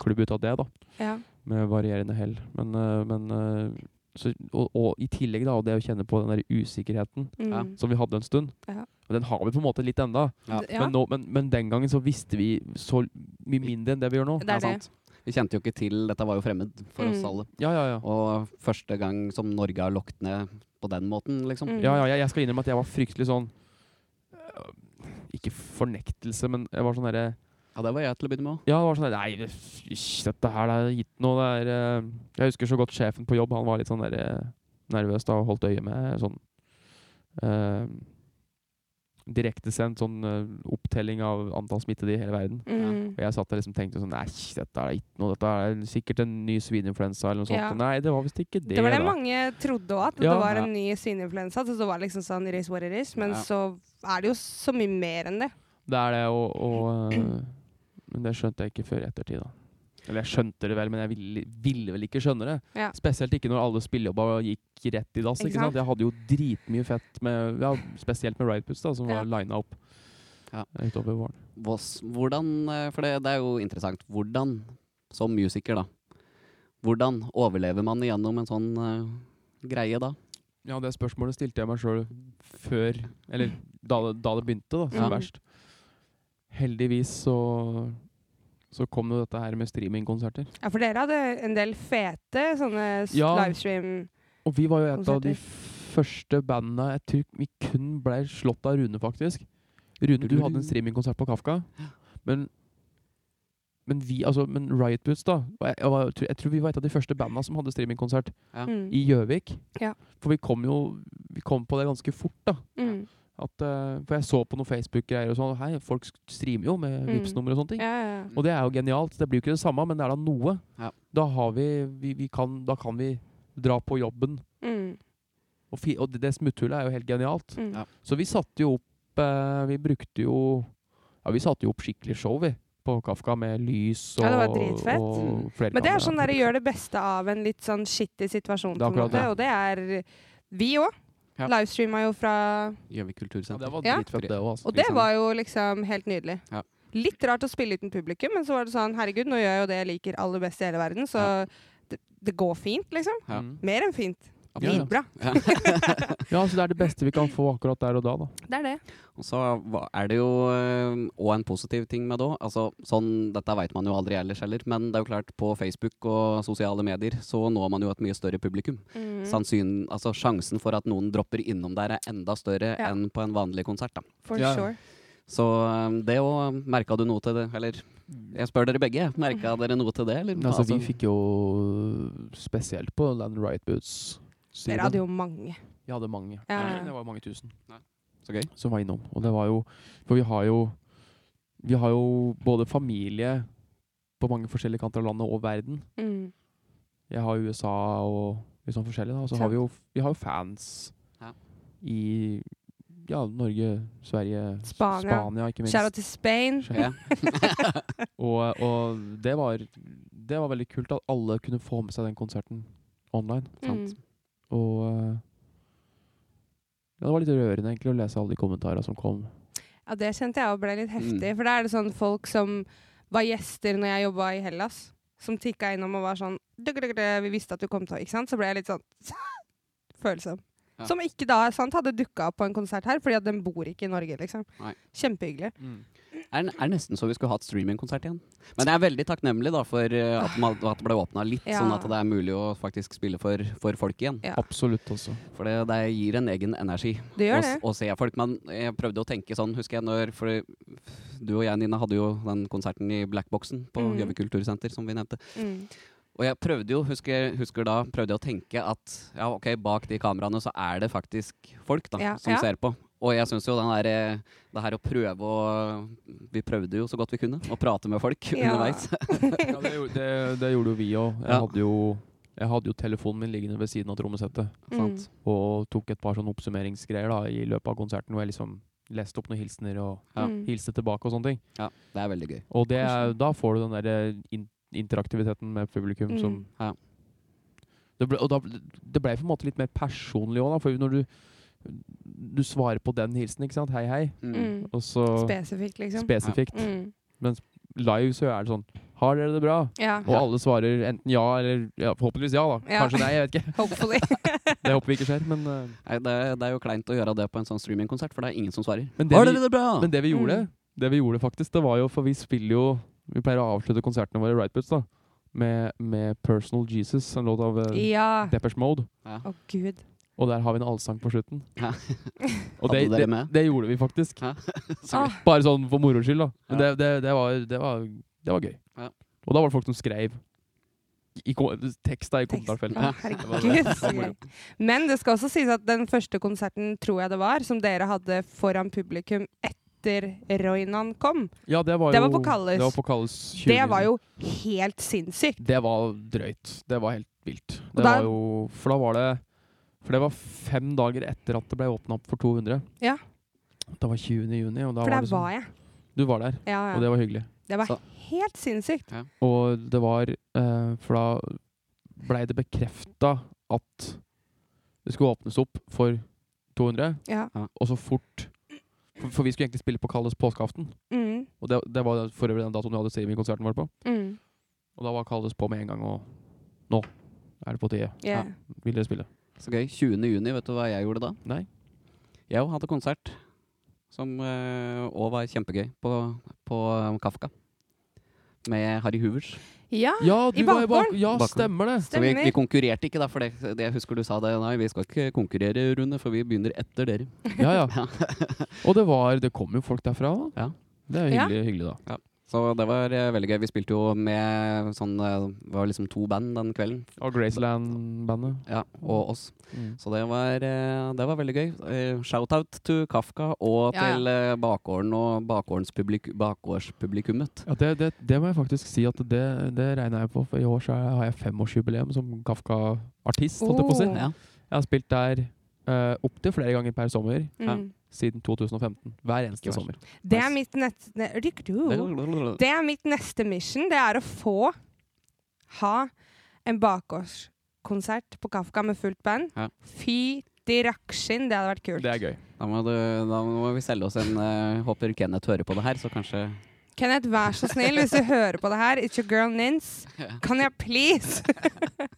S2: klubb ut av det, da.
S3: ja.
S2: Med varierende hell. Men, øh, men øh, så, og, og i tillegg, da, og det å kjenne på den der usikkerheten
S3: Mm.
S1: Ja.
S2: som vi hadde en stund.
S3: Ja.
S2: Og den har vi på en måte litt enda.
S1: Ja.
S3: D- ja.
S2: Men, nå, men, men den gangen så visste vi så mye mindre enn det vi gjør nå.
S3: Det er det.
S1: sant. Vi kjente jo ikke til Dette var jo fremmed for oss
S3: Mm.
S1: alle.
S2: Ja, ja, ja.
S1: Og første gang som Norge har lukket ned på den måten, liksom.
S3: Mm.
S2: Ja, ja, jeg, jeg skal innrømme at jeg var fryktelig sånn øh, Ikke fornektelse, men jeg var sånn derre
S1: Ja, det var jeg til å begynne med òg.
S2: Ja, det var sånn der, Nei, det- fysj, dette her det er gitt noe. Det er, eh, jeg husker så godt sjefen på jobb. Han var litt sånn der, eh, nervøs da og holdt øye med sånn eh, Direktesendt sånn eh, opptelling av antall smittede i hele verden.
S3: Mm.
S2: Og jeg satt der liksom tenkte sånn Nei, dette er da ikke noe. Dette er sikkert en ny svineinfluensa eller noe sånt.
S3: Ja.
S2: Nei, det var visst ikke det.
S3: Det var det
S2: da.
S3: mange trodde òg, at
S2: Ja.
S3: det var
S1: Ja.
S3: en ny svineinfluensa. Så det var liksom sånn it is what it is. Men
S1: Ja.
S3: så er det jo så mye mer enn det.
S2: Det er det, og, og eh, Men det skjønte jeg ikke før i ettertid, da. Eller jeg skjønte det vel, men jeg ville, ville vel ikke skjønne det.
S3: Ja.
S2: Spesielt ikke når alle spillejobba gikk rett i dass.
S3: Ikke
S2: Ikke sant? Jeg hadde jo dritmye fett med ja, Spesielt med Rideputs, da, som
S3: Ja.
S2: var lina opp
S1: Ja.
S2: utover våren.
S1: Hvordan eh, For det, det er jo interessant. Hvordan, som musiker, da Hvordan overlever man igjennom en sånn eh, greie da?
S2: Ja, det spørsmålet stilte jeg meg sjøl før Eller da, det- da det begynte, da, som
S3: Ja.
S2: verst. Heldigvis så så kom jo dette her med streamingkonserter.
S3: Ja, for dere hadde en del fete sånne s-
S2: Ja.
S3: livestream
S2: Og vi var jo et av de
S3: Konserter.
S2: første banda Jeg tror vi kun ble slått av Rune, faktisk. Rune, du hadde en streamingkonsert på Kafka. Men men vi, altså, men Riot Boots, da var- jeg, var, jeg tror vi var et av de første banda som hadde streamingkonsert
S3: Mm.
S2: i Gjøvik.
S3: Ja.
S2: For vi kom jo vi kom på det ganske fort, da.
S3: Mm.
S2: At, eh, for jeg så på noen Facebook-greier og sånn. og Hei, folk streamer jo med
S3: Mm.
S2: Vipps nummer og sånne ting.
S3: Ja, ja. ja.
S2: Og det er jo genialt. Det blir jo ikke det samme, men det er da noe.
S1: Ja.
S2: Da, har vi, vi, vi kan, da kan vi dra på jobben
S3: Mm.
S2: og, fi, og det- det smutthullet er jo helt genialt.
S3: Mm.
S1: Ja.
S2: Så vi satte jo opp eh, Vi brukte jo Ja, vi satte jo opp skikkelig show, vi. på Kafka med lys og,
S3: Ja, det var dritfett.
S2: og flere
S3: Men det er
S2: kameraer.
S3: sånn der, gjør det beste av en litt sånn shitty situasjon,
S2: Det er
S3: på en
S2: akkurat
S3: måte.
S2: det.
S3: Og det er vi òg.
S1: Ja.
S3: Livestreama jo fra
S1: Gjøvik
S2: Ja,
S1: kultursenter.
S2: det var
S3: Ja.
S2: dritfett, det òg. Altså.
S3: Og det var jo liksom helt nydelig.
S1: Ja.
S3: Litt rart å spille uten publikum, men så var det sånn herregud, nå gjør jeg jo det jeg liker aller best i hele verden, så det, det går fint, liksom.
S1: Ja.
S2: Mm.
S3: Mer enn fint.
S2: Ja, ja.
S3: Dritbra.
S2: Ja, så det er det beste vi kan få akkurat der og da. da.
S3: Det er det.
S1: Og så hva- er det jo eh, og en positiv ting med det òg. Altså, sånn, dette veit man jo aldri ellers heller, men det er jo klart, på Facebook og sosiale medier så når man jo et mye større publikum.
S3: Mm.
S1: Sannsyn, altså, sjansen for at noen dropper innom der, er enda større
S3: Ja.
S1: enn på en vanlig konsert. Da.
S3: Mm, For
S2: Ja.
S3: sure.
S1: Så eh, det òg Merka du noe til det, eller? Jeg spør dere begge. Merka
S3: Mhm.
S1: dere noe til det, eller?
S2: Mm. Altså, vi fikk jo spesielt på Land Right Boots.
S3: Dere hadde jo mange.
S2: Vi hadde mange.
S3: Ja.
S2: Det var jo mange tusen
S1: Så gøy.
S2: som var innom. Og det var jo For vi har jo Vi har jo både familie på mange forskjellige kanter av landet og verden.
S3: Mm.
S2: Jeg har USA og litt sånn forskjellig, da. Og så har vi jo, vi har jo fans
S1: Ja.
S2: i ja, Norge, Sverige,
S3: Spania.
S2: Spania ikke minst.
S3: Shout out til Spain.
S1: Ja.
S2: Og, og det, var, det var veldig kult at alle kunne få med seg den konserten online.
S1: Sant.
S3: Mm.
S2: Og eh, ja, det var litt rørende egentlig å lese alle de kommentarene som kom.
S3: Ja, det kjente jeg og ble litt heftig.
S1: Mm.
S3: For da er det sånn folk som var gjester når jeg jobba i Hellas, som tikka innom og var sånn «Dugg, dugg, dugg, Vi visste at du kom til å Ikke sant? Så ble jeg litt sånn følsom.
S1: Ja.
S3: Som ikke da sant, hadde dukka opp på en konsert her, fordi at den bor ikke i Norge, liksom.
S1: Nei.
S3: Kjempehyggelig.
S1: Mm. er, er nesten så vi skulle hatt streamingkonsert igjen. Men jeg er veldig takknemlig da for eh, at, man, at det ble åpna litt,
S3: Ja.
S1: sånn at det er mulig å faktisk spille for, for folk igjen.
S3: Ja.
S2: Absolutt også.
S1: For det, det gir en egen energi
S3: Det
S1: å,
S3: gjør
S1: s-
S3: det.
S1: å se folk. Men jeg prøvde å tenke sånn, husker jeg når For du og jeg, Nina, hadde jo den konserten i Blackboxen på
S3: Mhm.
S1: Gjøvik kultursenter, som vi nevnte.
S3: Mm.
S1: Og jeg prøvde jo, husker, jeg- husker da, prøvde jeg å tenke at ja, ok, bak de kameraene så er det faktisk folk da,
S3: Ja,
S1: som
S3: ja.
S1: ser på. Og jeg syns jo den der, eh, det her å prøve å Vi prøvde jo så godt vi kunne å prate med folk
S3: Ja.
S1: underveis.
S2: Ja, det, gjorde- det, det gjorde jo vi òg. Jeg,
S1: Ja.
S2: hadde jo- jeg hadde jo telefonen min liggende ved siden av trommesettet.
S3: Mm.
S2: Og tok et par sånne oppsummeringsgreier da i løpet av konserten hvor jeg liksom leste opp noen hilsener og
S1: Ja.
S3: Mm.
S2: hilste tilbake og sånne ting.
S1: Ja, det er veldig gøy.
S2: Og det, er- da får du den der eh, in interaktiviteten med publikum
S3: Mm.
S2: som
S1: Ja.
S2: det ble, Og da, det ble på en måte litt mer personlig òg, da. For når du, du svarer på den hilsen, ikke sant. Hei, hei.
S3: Mm.
S2: Og så
S3: Spesifikt, liksom.
S2: spesifikt.
S3: Mm.
S2: Live så er det sånn Har dere det bra?
S3: Ja.
S2: Og
S1: Ja.
S2: alle svarer enten ja eller ja, Forhåpentligvis ja, da.
S3: Ja.
S2: Kanskje nei, jeg vet ikke.
S3: Hopefully.
S2: Det håper vi ikke skjer. Men, eh,
S1: Nei, det, er- det er jo kleint å gjøre det på en sånn streamingkonsert, for det er ingen som svarer.
S2: men, det
S1: Har
S2: vi,
S1: dere det bra?
S2: men det vi gjorde,
S3: Mm.
S2: det vi gjorde faktisk, det var jo For vi spiller jo Vi pleier å avslutte konsertene våre i Rightboots, da. Med, med 'Personal Jesus', en låt av eh,
S3: Ja.
S2: Depeche Mode.
S3: Å, gud.
S2: Og der har vi en allsang på slutten.
S1: Ja.
S2: Og
S1: Hadde
S2: det,
S1: dere
S2: det,
S1: med?
S2: det gjorde vi faktisk.
S1: Sorry.
S3: Ah.
S2: Bare sånn for moro skyld, da. Men
S1: Ja.
S2: det, det, det, var, det, var, det var gøy.
S1: Ja.
S2: Og da var det folk som skrev i, ko- teksta i
S3: Tekst.
S2: kommentarfeltet.
S3: Å, herregud, så
S2: moro.
S3: gøy. Men det skal også sies at den første konserten, tror jeg det var, som dere hadde foran publikum etter Roinan kom,
S2: Ja, det var jo
S3: Det var på Kalles.
S2: Det var på Kalles 20
S3: det var jo helt sinnssykt.
S2: Det var drøyt. Det var helt vilt.
S3: Og
S2: Det
S3: da-
S2: var jo For da var det For det var fem dager etter at det ble åpna opp for 200.
S3: Ja.
S2: Det var 20. juni, og da var
S3: For der
S2: det sånn
S3: var jeg.
S2: Du var der, og
S3: Ja, ja.
S2: det var hyggelig.
S3: Det var
S1: Så-
S3: helt sinnssykt.
S2: Og det var eh, For da blei det bekrefta at det skulle åpnes opp for 200,
S3: Ja.
S2: og så fort For, for vi skulle egentlig spille på Kalles påskeaften,
S3: Mm,
S2: og det, det var for øvrig den datoen vi hadde streamingkonserten vår på.
S3: mm,
S2: Og da var Kalles på med en gang, og nå er det på tide.
S3: yeah.
S2: Vil dere spille?
S1: Så gøy. 20. juni, vet du hva jeg gjorde da?
S2: Nei.
S1: Jeg òg hadde konsert, som òg var kjempegøy, på, på eh, Kafka. Med Harry Hoovers.
S3: ja.
S2: Ja,
S3: I
S2: du var i bak
S3: bakgården?
S2: ja
S1: Bakgården.
S2: stemmer det!
S1: Så vi,
S3: Stemmer.
S1: vi konkurrerte ikke, da, for det, det jeg husker du sa det. Nei, vi skal ikke konkurrere, Rune, for vi begynner etter dere.
S2: Ja, ja.
S1: Ja.
S2: Og det var Det kom jo folk derfra. da.
S1: Ja.
S2: Det er jo
S3: Ja.
S2: hyggelig, hyggelig, da.
S1: Så det var eh, veldig gøy. Vi spilte jo med sånn eh, Det var liksom to band den kvelden.
S2: Og Graceland-bandet. Mm.
S1: Ja, og oss. Så det var, eh, det var veldig gøy. Eh, Shout-out to Kafka og
S3: Ja, ja.
S1: til eh, bakgården og bakgårdspublik bakgårdspublikummet.
S2: Ja, det, det, det må jeg faktisk si at det, det regner jeg på, for i år så er- har jeg femårsjubileum som Kafka-artist. holdt jeg på å si.
S3: Oh.
S1: Ja.
S2: eh, Jeg har spilt der uh, opptil flere ganger per sommer.
S3: Mm.
S2: siden 2015. Hver eneste
S1: Ikke verst.
S2: sommer.
S3: Det er mitt neste Det er mitt neste mission. Det er å få ha en bakgårdskonsert på Kafka med fullt band.
S1: Ja.
S3: Fy de rakshin, det hadde vært kult.
S2: Det er gøy.
S1: Da må, du, da må vi selge oss en eh, Håper Kenneth hører på det her, så kanskje
S3: Kenneth, vær så snill, hvis du hører på det her, it's your girl Nins, kan jeg please?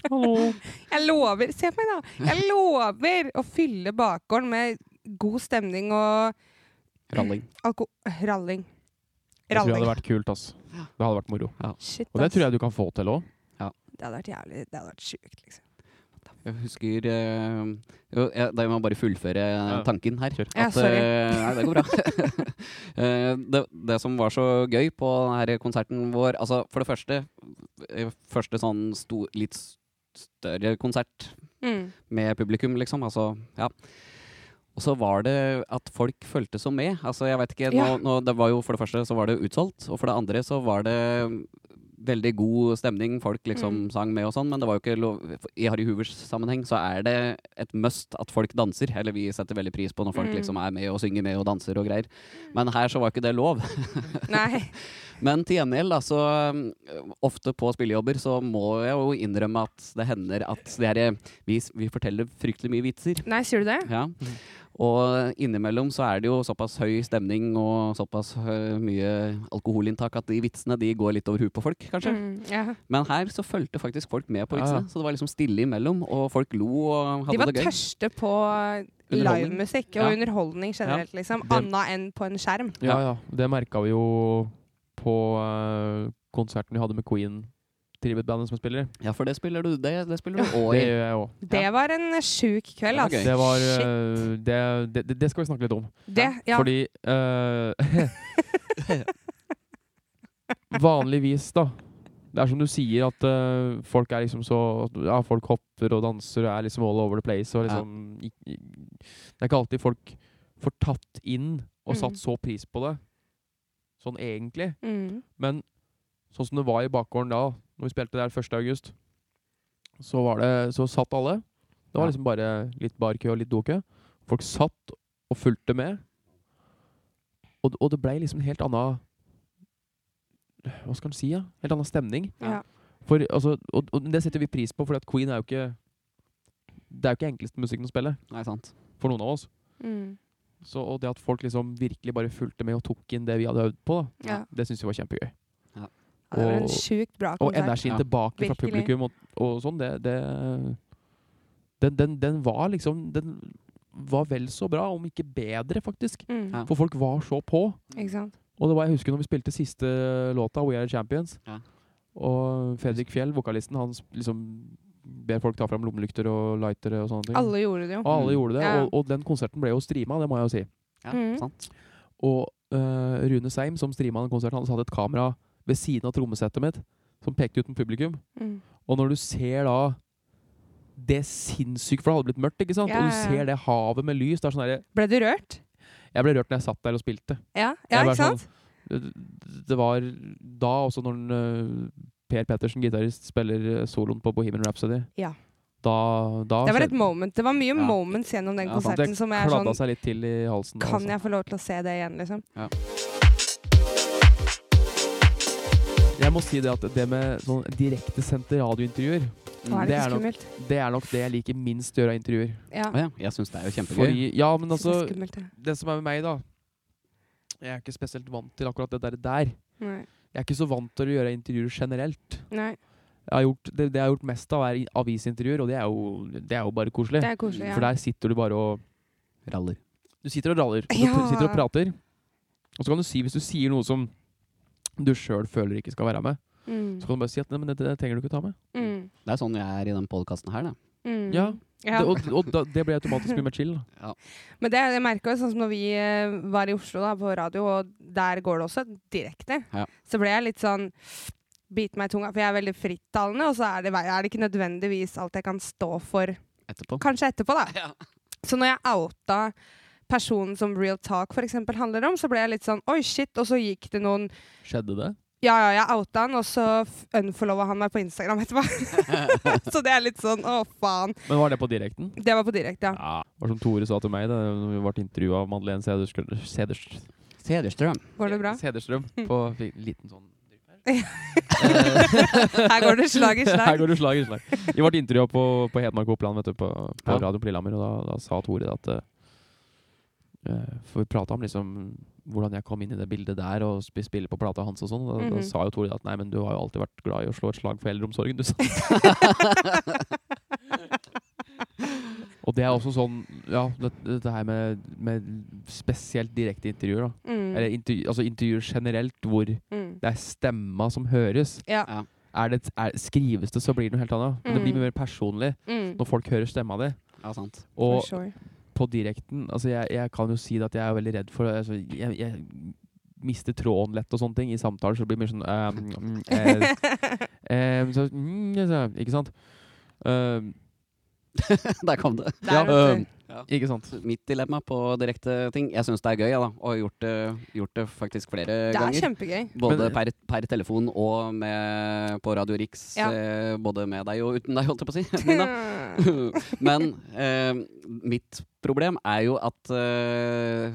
S2: Hallo.
S3: Jeg lover, se på meg da, jeg lover å fylle bakgården med god stemning og
S1: ralling.
S3: alko... Ralling.
S2: Det tror jeg
S3: Ralling.
S2: hadde vært kult, ass.
S1: Ja.
S2: Det hadde vært moro.
S3: Shit,
S2: Og det
S3: ass.
S2: tror jeg du kan få til òg.
S3: Det hadde vært jævlig, det hadde vært sjukt, liksom.
S1: Jeg husker eh, jo, jeg, Da må jeg bare fullføre
S2: Ja.
S1: tanken her.
S2: Kjør.
S3: Ja,
S1: At,
S3: sorry.
S1: eh, nei, det går bra. Eh, det, det som var så gøy på denne konserten vår altså For det første eh, Første sånn sto, litt større konsert
S3: Mm.
S1: med publikum, liksom. Altså, ja. Og så var det at folk fulgte så med. Altså, jeg vet ikke, nå,
S3: Ja.
S1: nå, det var jo For det første så var det utsolgt, og for det andre så var det veldig god stemning. Folk liksom
S3: Mm.
S1: sang med og sånn, men det var jo ikke lov I Harry Hoovers sammenheng så er det et must at folk danser. Eller vi setter veldig pris på når folk
S3: Mm.
S1: liksom er med og synger med og danser og greier. Men her så var ikke det lov.
S3: Nei.
S1: Men til gjengjeld, da, så um, ofte på spillejobber så må jeg jo innrømme at det hender at det er, vi, vi forteller fryktelig mye vitser.
S3: Nei, sier du det?
S1: Ja. Og innimellom så er det jo såpass høy stemning og såpass øh, mye alkoholinntak at de vitsene de går litt over huet på folk, kanskje.
S3: Mm, ja.
S1: Men her så fulgte faktisk folk med på
S2: Ja,
S1: vitsene,
S2: ja.
S1: så det var liksom stille imellom, og folk lo og
S3: De
S1: hadde
S3: var
S1: det gøy.
S3: tørste på
S1: Underholdning.
S3: livemusikk og
S1: Ja.
S3: underholdning generelt, liksom.
S2: Det-
S3: Anna enn på en skjerm.
S2: Ja, ja. Det merka vi jo på eh, konserten vi hadde med Queen. Tributbandet som spiller.
S1: Ja, for det spiller du, det, det spiller du òg
S2: Det
S1: i.
S2: gjør jeg òg.
S3: Det var en eh, sjuk kveld,
S1: Det var gøy.
S3: altså.
S2: Det, var,
S3: Shit.
S2: eh, det, det, det- det skal vi snakke litt om.
S3: Det, ja.
S2: Fordi eh, Vanligvis, da. Det er som du sier, at eh, folk er liksom så Ja, folk hopper og danser og er liksom all over the place. Og
S1: Ja.
S2: liksom, i- i- Det er ikke alltid folk får tatt inn og
S3: Mm.
S2: satt så pris på det, sånn egentlig.
S3: Mm.
S2: Men sånn som det var i bakgården da, når vi spilte der 1. august, så, var det, så satt alle. Det var
S1: Ja.
S2: liksom bare litt barkø og litt dokø. Folk satt og fulgte med. Og, og det blei liksom en helt anna Hva skal en si, ja? Helt anna stemning.
S3: Ja.
S2: For, altså, og, og det setter vi pris på, for Queen er jo ikke Det er jo ikke enkleste musikken å spille
S1: Nei, sant.
S2: for noen av oss.
S3: Mm.
S2: Så, og det at folk liksom virkelig bare fulgte med og tok inn det vi hadde øvd på, da,
S3: Ja.
S2: det syns vi var kjempegøy.
S3: Ja, Det var en
S2: Og-
S3: sjukt bra
S2: Og
S3: konsert.
S2: energien
S1: Ja.
S2: tilbake fra
S3: Virkelig.
S2: publikum og, og sånn, det, det den, den, den var liksom Den var vel så bra, om ikke bedre, faktisk.
S3: Mm.
S1: Ja.
S2: For folk var så på.
S3: Ikke sant?
S2: Og det var, jeg husker når vi spilte siste låta, We Are The Champions,
S1: Ja.
S2: og Fredrik Fjell, vokalisten, han s- liksom ber folk ta fram lommelykter og lightere og sånne ting.
S3: Alle gjorde det jo.
S2: Mm. Og alle gjorde det.
S3: Ja.
S2: Og, og den konserten ble jo streama, det må jeg jo si.
S1: Ja,
S3: Mm.
S1: sant.
S2: Og eh, Rune Seim, som streama den konserten, han hadde et kamera ved siden av trommesettet mitt som pekte ut mot publikum.
S3: Mm.
S2: Og når du ser da det sinnssyke, for det hadde blitt mørkt, ikke sant?
S3: Ja,
S2: Og du
S3: ja, ja.
S2: ser det havet med lys. Det er sånn der,
S3: Ble du rørt?
S2: jeg ble rørt når jeg satt der og spilte.
S3: Ja,
S2: Jeg
S3: ja
S2: var sånn,
S3: ikke sant?
S2: Det, det var da også når den, øh, Per Pettersen, gitarist, spiller øh, soloen på Bohemian Rhapsody.
S3: Ja.
S2: Da, da
S3: Det var
S2: skjedde-
S3: et moment. Det var mye
S1: Ja.
S3: moments gjennom den
S1: Ja, sant.
S3: konserten som jeg er
S2: kladda
S3: sånn
S2: seg litt til i halsen.
S3: Kan
S2: altså.
S3: jeg få lov til å se det igjen, liksom?
S2: jeg må si det at det med sånn direktesendte radiointervjuer,
S3: Å, er det
S2: Mm. Det
S3: ikke
S2: er nok-
S3: skummelt?
S2: det er nok det jeg liker minst å gjøre av intervjuer.
S3: Ja.
S1: Mm. Å ja, jeg syns det er jo kjempegøy.
S2: Fordi, ja, men altså,
S3: det er skummelt, ja.
S2: det som er med meg, da Jeg er ikke spesielt vant til akkurat det der. der.
S3: Nei.
S2: Jeg er ikke så vant til å gjøre intervjuer generelt.
S3: Nei.
S2: Jeg har gjort, det, det jeg har gjort mest av, er i- avisintervjuer, og det er jo, det er jo bare koselig.
S3: Det er koselig, ja.
S2: For der sitter du bare og
S1: Raller.
S2: Du sitter og raller. og Du
S3: Ja.
S2: pr- sitter og prater. Og så kan du si, hvis du sier noe som du sjøl føler ikke skal være med,
S3: Mm.
S2: så kan du bare si at nei, men dette trenger du ikke ta med.
S3: Mm.
S1: Det er sånn jeg er i den podkasten her, da.
S3: Mm.
S2: Ja.
S3: Ja.
S2: Det, og og da, det blir automatisk mye mer chill. da.
S3: Men det jeg merka jo sånn som når vi eh, var i Oslo da, på radio, og der går det også direkte,
S1: Ja.
S3: så ble jeg litt sånn Bit meg i tunga, for jeg er veldig frittalende, og så er det, er det ikke nødvendigvis alt jeg kan stå for.
S1: Etterpå.
S3: Kanskje etterpå, da.
S1: Ja.
S3: Så når jeg outa personen som Real Talk for eksempel handler om, så ble jeg litt sånn Oi, shit. Og så gikk det noen
S2: Skjedde det?
S3: Ja, ja, jeg outa han, og så unfollowa han meg på Instagram etterpå. så det er litt sånn å, faen.
S2: Men var det på direkten?
S3: Det var på direkte, ja.
S2: Ja. Det var som Tore sa til meg da vi ble intervjua av Madeleine Sederstrøm, Seders-
S1: Sederstrøm.
S3: Går det bra?
S2: Sederstrøm på fi- liten sånn
S3: Her går det slag i
S2: Her
S3: slag.
S2: går du slag i slag. Vi ble intervjua på, på Hedmark og Oppland vet du, på, på
S1: Ja.
S2: Radio på Lillehammer, og da, da sa Tore at eh, For vi prata om liksom hvordan jeg kom inn i det bildet der og sp spille på plata hans og sånn. og Da,
S3: Mhm.
S2: da sa jo Tore at nei, men du har jo alltid vært glad i å slå et slag for eldreomsorgen, du sa. og det er også sånn Ja, det- dette her med, med spesielt direkte intervjuer, da. Eller
S3: Mm,
S2: intervju, altså intervjuer generelt hvor det
S3: mm.
S2: er stemma som høres
S3: Ja.
S1: Ja.
S2: er det, er, skrives det, så blir det noe helt annet. Men Det blir
S3: Mm.
S2: mye mer personlig
S3: Mm.
S2: når folk hører stemma di.
S1: Ja, sant.
S2: Og
S3: For sure.
S2: på direkten altså jeg, jeg kan jo si det at jeg er veldig redd for altså jeg, jeg mister tråden lett og sånne ting. I samtaler så blir det mye sånn eh, mm, eh, eh, så, mm, ja, så, Ikke sant? Eh,
S1: Der kom det.
S3: Der,
S2: ja,
S3: vet
S2: eh, ikke sant?
S1: Mitt dilemma på direkte ting. Jeg syns det er gøy, jeg, da. Og har gjort det, gjort det faktisk flere
S3: du. det er
S1: ganger.
S3: kjempegøy.
S1: Både
S2: Men-
S1: per, per telefon og med, på Radio Rix.
S3: Ja.
S1: Eh, både med deg og uten deg, holdt jeg på å si. Mina. Men eh, mitt problem er jo at eh,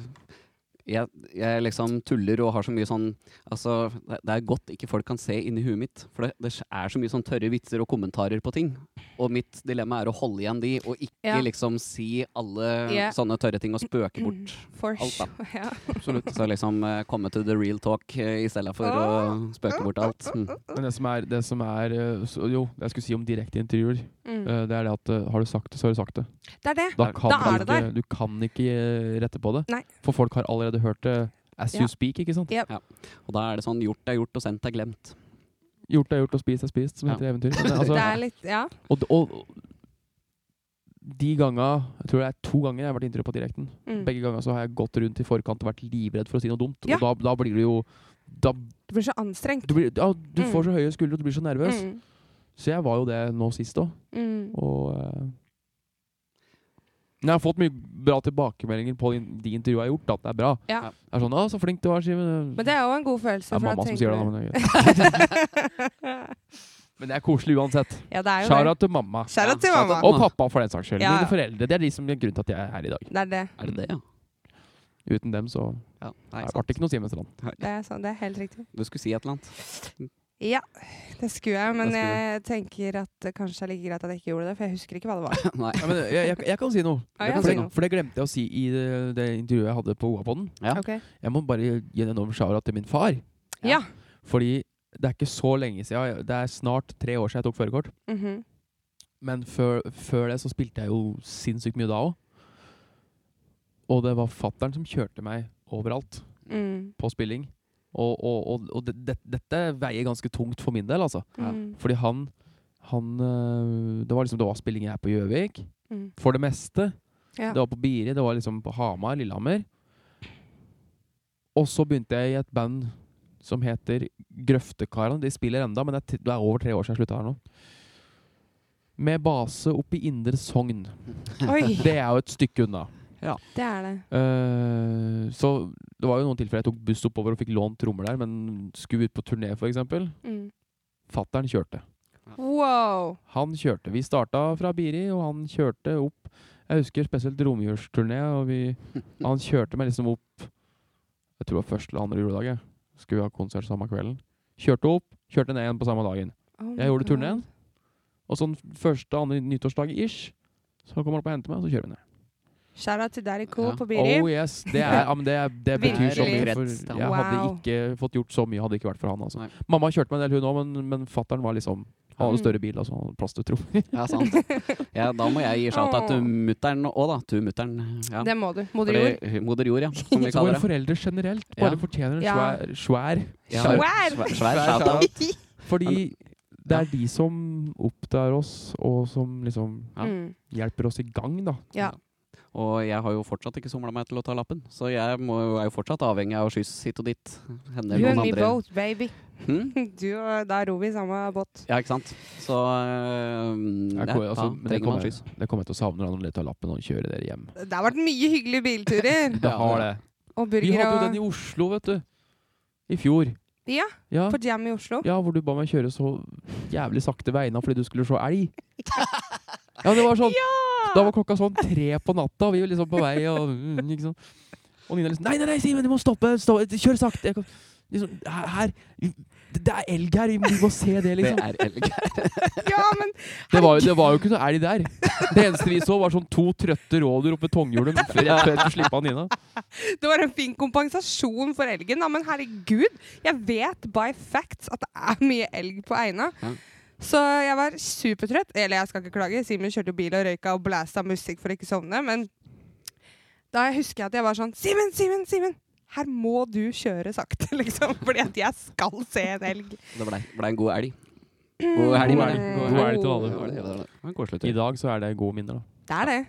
S1: jeg, jeg liksom tuller og har så mye sånn Altså, det det er godt ikke folk kan se inni huet mitt, for det, det er så mye sånn tørre vitser og kommentarer på ting. Og mitt dilemma er å holde igjen de, og ikke
S3: Ja.
S1: liksom si alle
S3: Ja.
S1: sånne tørre ting og spøke bort.
S3: For
S1: Alt, da.
S3: sure. Ja.
S1: Absolutt. Så liksom eh, komme to the real talk eh, i stedet for å spøke bort alt. Mm.
S2: Men det som er, det som er eh, så, Jo, jeg skulle si om direkte intervjuer.
S3: Mm.
S2: eh, det er det at eh, har du sagt det, så har du sagt det.
S3: Det er det.
S2: Da kan
S3: Da er
S2: du,
S3: det
S2: ikke, du kan ikke eh, rette på det.
S3: Nei.
S2: For folk har allerede hørt det as
S3: Ja.
S2: you speak, ikke sant?
S1: Og da er det sånn gjort er gjort, og sendt er glemt.
S2: Gjort er gjort, og spist er spist, som
S1: Ja.
S2: heter eventyr. Men, altså,
S3: Det er litt Ja.
S2: og, og de ganga, jeg tror det er to ganger jeg har vært intervjuet på direkten.
S3: Mm.
S2: Begge ganger så har jeg gått rundt i forkant og vært livredd for å si noe dumt.
S3: Ja.
S2: Og da, da blir du jo da,
S3: Du blir så anstrengt.
S2: du, blir, ja, du
S3: Mm.
S2: får så høye skuldre, og du blir så nervøs.
S3: Mm.
S2: Så jeg var jo det nå sist òg.
S3: Mm.
S2: Og eh, men jeg har fått mye bra tilbakemeldinger på de- de intervjuene jeg har gjort. Da, at det er bra.
S3: Ja.
S2: Det er sånn, å, så flink du var, Simen.
S3: Men det er jo en god følelse.
S2: Det er
S3: for da
S2: mamma som
S3: tenker
S2: sier det,
S3: du-
S2: da, men det. er greit. Men det er koselig uansett.
S3: Ja, det er jo
S2: Shara
S3: det.
S2: til mamma.
S3: Shout out til
S1: Ja, shout
S3: mamma.
S1: out.
S2: Og pappa, for den saks skyld.
S3: Ja, ja.
S2: Mine foreldre. Det er de som er grunnen til at jeg er her i dag.
S3: Det er det.
S1: Er det det, ja?
S2: Uten dem så
S1: ja nei,
S2: nei, ble
S1: sant.
S2: det ikke noe Simen Strand.
S3: Det er, sånn, det er helt riktig.
S1: Du skulle si et eller annet.
S3: Ja, det skulle jeg, men
S1: Det skulle
S3: jeg tenker at det kanskje er like greit at jeg ikke gjorde det, for jeg husker ikke hva det var.
S1: Nei.
S2: Ja, men jeg, jeg, jeg kan si noe.
S3: Ja,
S2: for,
S3: jeg kan si noe.
S2: det, for det glemte jeg å si i det, det intervjuet jeg hadde på Oapodden.
S1: Ja.
S3: Ok.
S2: Jeg må bare gi en enorm shout til min far.
S3: Ja.
S2: Fordi det er ikke så lenge siden. Det er snart tre år siden jeg tok førerkort.
S3: Mhm.
S2: Men før, før det så spilte jeg jo sinnssykt mye da òg. Og det var fattern som kjørte meg overalt
S3: Mm.
S2: på spilling. Og, og, og, og det, det, dette veier ganske tungt for min del, altså.
S1: Ja.
S3: Mm.
S2: Fordi han, han øh, Det var liksom det var spilling her på Gjøvik,
S3: Mm.
S2: for det meste.
S3: Ja.
S2: Det var på Biri, det var liksom på Hamar, Lillehammer. Og så begynte jeg i et band som heter Grøftekarene. De spiller enda, men det er, t- det er over tre år siden jeg slutta her nå. Med base oppe i Indre Sogn.
S3: Oi,
S2: Det er jo et stykke unna.
S3: det er det.
S2: Eh, så det var jo noen tilfeller jeg tok buss oppover og fikk lånt trommer der, men skulle ut på turné, f.eks.
S3: Mm.
S2: Fattern kjørte.
S3: Wow.
S2: Han kjørte. Vi starta fra Biri, og han kjørte opp Jeg husker spesielt romjulsturné, og vi Han kjørte meg liksom opp Jeg tror det var første eller andre juledag. jeg. Skulle vi ha konsert samme kvelden. Kjørte opp, kjørte ned igjen på samme dagen.
S3: Oh my
S2: Jeg gjorde
S3: God.
S2: turnéen. Og sånn første andre nyttårsdag ish, så kommer han opp og henter meg, og så kjører vi ned.
S3: Shout out til Daddy Cool
S1: Ja.
S3: på Biri.
S2: Oh yes, Det, er, ja, men det, er- det betyr så mye. For jeg hadde
S3: Wow.
S2: ikke fått gjort så mye hadde det ikke vært for han.
S1: Nei.
S2: Altså. Mamma kjørte meg en del, hun òg, men, men fattern var liksom Han hadde større bil, altså. Han hadde plass til tro.
S1: Ja, sant. Ja, da må jeg gi shout-out til mutter'n òg, da. Til mutter'n. Ja.
S3: Det må du. Moder jord.
S1: Fordi- Moder jord, ja. Som vi
S2: Så våre
S1: kaller det.
S2: foreldre generelt
S1: Ja.
S2: bare fortjener en
S3: Ja.
S2: svær, svær
S1: Ja,
S3: Svær.
S1: svær svær shout-out.
S2: Fordi det er de som oppdager oss, og som liksom
S1: Ja.
S3: Mm.
S2: hjelper oss i gang, da.
S3: Ja.
S1: Og jeg har jo fortsatt ikke somla meg til å ta lappen, så jeg må, jo- er jo fortsatt avhengig av skyss hit og dit. Hender
S3: You and
S1: noen
S3: me
S1: andre
S3: both, baby.
S1: Hm?
S3: Du og da ror vi i samme båt.
S1: Ja, ikke sant. Så øh,
S2: Jeg
S1: ja,
S2: kommer- altså,
S1: da
S2: men
S1: trenger
S2: det
S1: man
S2: kommer
S1: skyss.
S2: det kommer jeg til å savne når dere tar lappen og kjører dere hjem.
S3: Det har vært mye hyggelige bilturer.
S2: Det har det.
S3: Og
S2: Vi
S3: burger
S2: hadde jo
S3: og
S2: den i Oslo, vet du. I fjor.
S3: Ja,
S2: Ja,
S3: på Jam i Oslo.
S2: ja, hvor du ba meg kjøre så jævlig sakte veina fordi du skulle se elg. Ja, det var sånn. Da var klokka sånn tre på natta, og vi var liksom på vei og mm, ikke sant? Og Nina liksom Nei, nei, nei, Simen, du må stoppe! Stå, kjør sakte! Jeg kom, liksom, her, det- Det er elg her! Vi må se det,
S1: Det
S2: liksom.
S1: er elg.
S3: Ja, men
S2: Det var, jo- det var jo ikke noe elg der. Det eneste vi så, var sånn to trøtte rådyr oppe i Tonghjulet rett før jeg skulle slippe av Nina.
S3: Det var en fin kompensasjon for elgen, da, men herregud, jeg vet by facts at det er mye elg på Eina.
S1: Ja.
S3: Så jeg var supertrøtt. Eller jeg skal ikke klage, Simen kjørte jo bil og røyka og blæsta musikk for å ikke sovne, men da husker jeg at jeg var sånn Simen, Simen, Simen! Her må du kjøre sakte, liksom, fordi at jeg skal se en elg.
S1: Det blei ble en god elg. God elg,
S2: God
S1: mener
S2: elg.
S1: jeg.
S2: God
S1: elg.
S2: elg til alle.
S1: Det var det, det var det. Det var en koselig
S2: I
S1: tur.
S2: dag så er det gode minner, da.
S3: Det er det.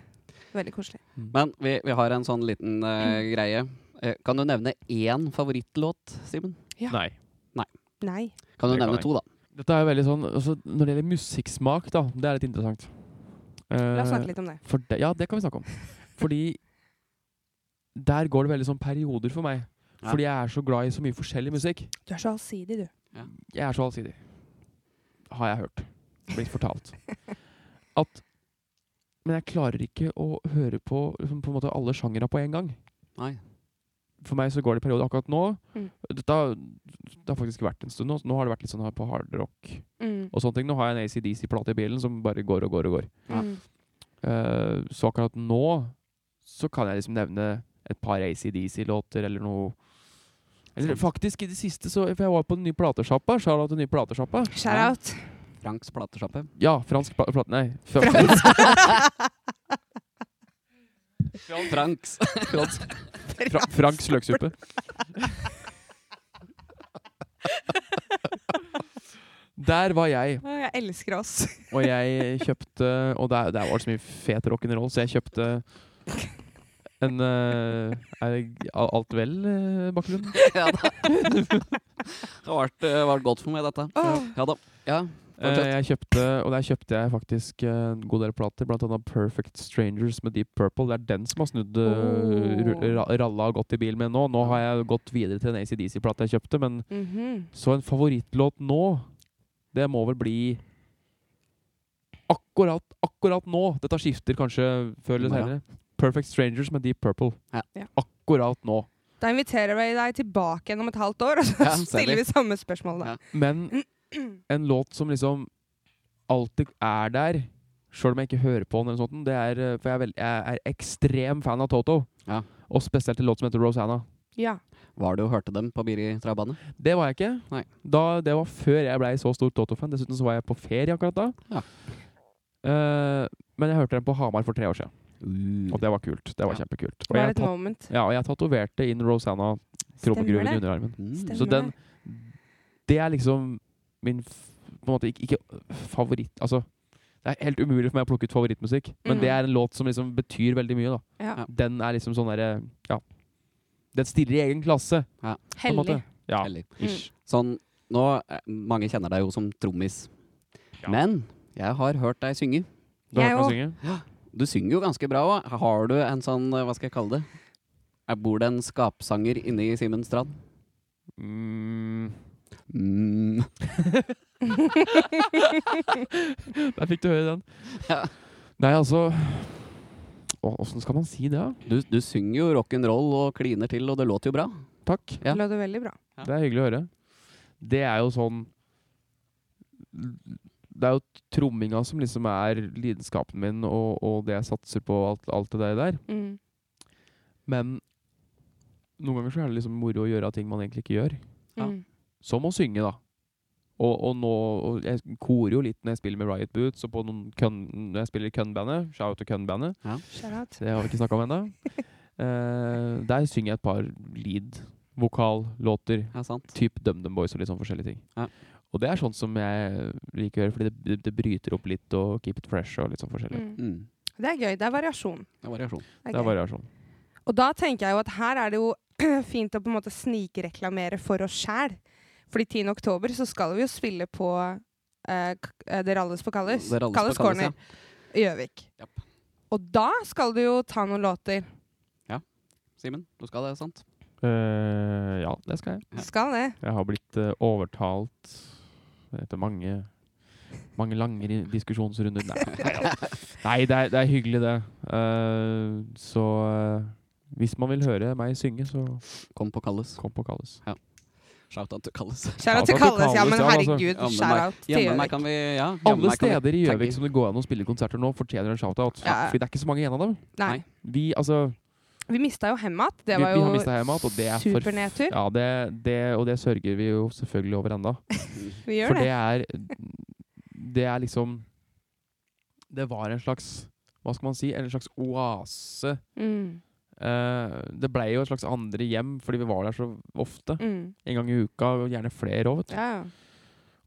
S3: Veldig koselig.
S1: Men vi, vi har en sånn liten eh, greie. Eh, kan du nevne én favorittlåt, Simen?
S3: Ja.
S2: Nei.
S3: Nei.
S1: Kan du
S2: Det kan
S1: nevne
S2: jeg.
S1: to, da?
S2: Dette er jo veldig sånn altså, Når det gjelder musikksmak, da, det er litt interessant. Eh,
S3: La oss snakke litt om det.
S2: For det, ja, det kan vi snakke om. Fordi der går det veldig sånn perioder for meg.
S1: Ja.
S2: Fordi jeg er så glad i så mye forskjellig musikk.
S3: Du er så allsidig, du.
S2: Jeg er så allsidig. Har jeg hørt. Blitt fortalt. At Men jeg klarer ikke å høre på, liksom, på en måte alle sjangere på en gang.
S1: Nei.
S2: For meg så går det i perioder akkurat nå.
S3: Mm.
S2: Dette, har- det har faktisk vært en stund nå. så Nå har det vært litt sånn her på hardrock
S3: Mm.
S2: og sånne ting. Nå har jeg en ACDC-plate i bilen som bare går og går og går.
S1: Ja.
S3: Mm.
S2: Eh, så akkurat nå så kan jeg liksom nevne et par ACDC-låter eller noe Eller
S1: Sant.
S2: faktisk, i det siste, så For jeg var på den nye platesjappa. Charlotte, den nye platesjappa.
S3: Shout out.
S1: Franks platesjappe.
S2: Ja, fransk pla- plate... Nei. fra-
S1: Franks!
S2: fransk, fra, franks løksuppe. Der var jeg,
S3: Å, Jeg elsker oss.
S2: og jeg kjøpte Og der, der var det så mye fet rock'n'roll, så jeg kjøpte en eh, Er det alt vel, eh, Bakkelund?
S1: ja da. Det har vært, eh, vært godt for meg, dette.
S3: Åh.
S1: Ja da. Ja.
S2: Eh, jeg kjøpte, og der kjøpte jeg faktisk eh, en god del plater, blant annet Perfect Strangers med Deep Purple. Det er den som har snudd eh,
S3: Oh.
S2: ru- ra- ralla og gått i bil med nå. Nå har jeg gått videre til en ACDC-plate jeg kjøpte, men
S3: Mhm.
S2: så en favorittlåt nå, det må vel bli akkurat, akkurat nå. Dette skifter kanskje før eller
S1: Ja.
S2: senere. Perfect Strangers med Deep Purple.
S1: Ja.
S3: Ja.
S2: Akkurat nå.
S3: Da inviterer vi deg tilbake igjen om et halvt år, og så
S1: Ja, ser
S3: stiller
S1: vi.
S3: vi samme spørsmål da.
S1: Ja.
S2: Men en låt som liksom alltid er der, sjøl om jeg ikke hører på den, eller sånt, det er, eh, for jeg er, veld, jeg er ekstrem fan av Toto.
S1: Ja.
S2: Og spesielt en låt som heter Rosanna.
S3: Ja.
S1: Var det og hørte dem på Biri trabane?
S2: Det var jeg ikke.
S1: Nei.
S2: Da, det var før jeg blei så stor Toto-fan. Dessuten så var jeg på ferie akkurat da.
S1: Ja.
S2: Eh, men jeg hørte den på Hamar for tre år siden, og det var kult. Det var
S1: Ja.
S2: kjempekult.
S3: Det
S2: Og
S3: var
S2: jeg,
S3: et
S2: tat-
S3: moment.
S2: ja, og jeg tatoverte inn Rosanna trommegruven i
S3: det.
S2: underarmen.
S1: Mm.
S3: Stemmer
S2: Så den
S3: det.
S2: Det er liksom min f- På en måte ikke, ikke favoritt Altså, det er helt umulig for meg å plukke ut favorittmusikk, men
S3: Mm.
S2: det er en låt som liksom betyr veldig mye, da.
S3: Ja.
S1: Ja.
S2: Den er liksom sånn derre Ja. Den stiller i egen klasse, på en måte.
S3: Hellig.
S2: Ja.
S1: Eller
S3: Mm.
S1: Sånn, nå, eh, Mange kjenner deg jo som trommis,
S2: Ja.
S1: men jeg har hørt deg synge.
S2: Du har
S3: Mm. Jeg
S2: hørt meg
S3: òg.
S2: synge?
S1: Du synger jo ganske bra òg. Har du en sånn, eh, hva skal jeg kalle det? Eh, Bor det en skapsanger inne i Simen Strand? Mm.
S2: Mm. Der fikk du høre den.
S1: Ja.
S2: Nei, altså Å, Åssen skal man si det, da?
S1: Du, du synger jo rock'n'roll og kliner til, og det låter jo bra.
S2: Takk.
S1: Ja.
S3: Det lå det veldig bra.
S1: Ja.
S2: Det er hyggelig å høre. Det er jo sånn Det er jo tromminga som liksom er lidenskapen min, og, og det jeg satser på, alt, alt det der der.
S3: Mm.
S2: Men noen ganger så er det liksom moro å gjøre ting man egentlig ikke gjør.
S1: Ja.
S3: Mm.
S2: Som å synge, da. Og, og nå og Jeg korer jo litt når jeg spiller med Riot Boots, og på noen kønn, når jeg spiller Kønn-bandet. Shout til Kønn-bandet.
S3: Shout out.
S2: Det har vi ikke snakka om ennå. Eh, der synger jeg et par lead-vokallåter.
S1: Ja, sant?
S2: Typ DumDum Boys og litt sånn forskjellige ting.
S1: Ja.
S2: Og det er sånn som jeg liker å gjøre, fordi det, det, det bryter opp litt og keep it fresh og litt sånn forskjellig.
S3: Mm.
S1: Mm.
S3: Det er gøy. Det er variasjon.
S1: Det er variasjon.
S2: Det
S3: Det er
S2: er sånn.
S3: gøy.
S2: variasjon.
S3: Og da tenker jeg jo at her er det jo fint å på en måte snikreklamere for oss sjæl. Fordi 10. oktober så skal vi jo spille på eh, k- eh, Det ralles på Kallis.
S1: Det ralles
S3: Kallis
S1: på Kallis,
S3: Corner i Gjøvik.
S1: Japp.
S3: Og da skal du jo ta noen låter.
S1: Simen, du skal det, sant?
S2: Eh, ja, det skal jeg.
S3: Skal det.
S2: Jeg har blitt eh, overtalt etter mange mange lange ri- diskusjonsrunder. Nei, nei, ja. nei det, er, det er hyggelig, det. Eh, så eh, hvis man vil høre meg synge, så
S1: Kom på Kalles.
S2: kom på Kalles.
S1: Shout-out til Kalles.
S2: Ja, for
S3: Shout-out til
S2: at du
S3: Kalles, ja,
S2: kalles,
S3: men
S2: ja, altså.
S3: herregud.
S1: Jammen meg-
S3: Shout-out til
S1: Jammen meg
S3: Gjøvik.
S1: kan vi Ja. jammen
S2: Alle
S1: meg kan vi
S2: steder i
S1: tagge.
S2: Gjøvik som det går an å spille konserter nå, fortjener en shout-out.
S3: Ja.
S2: Fordi det er ikke så mange igjen av dem.
S3: Nei.
S1: Nei.
S2: Vi, altså,
S3: Vi mista jo Hemat. Det
S2: vi,
S3: var
S2: vi har
S3: jo
S2: mista hjemmet, og det er for-
S3: supernedtur.
S2: Ja, det, det, og det sørger vi jo selvfølgelig over ennå.
S3: Vi gjør
S2: For det
S3: det.
S2: er Det er liksom Det var en slags Hva skal man si? En slags oase.
S3: Mm,
S2: Eh, det blei jo et slags andre hjem, fordi vi var der så ofte.
S3: mm,
S2: En gang i uka, og gjerne flere òg.
S3: ja, ja.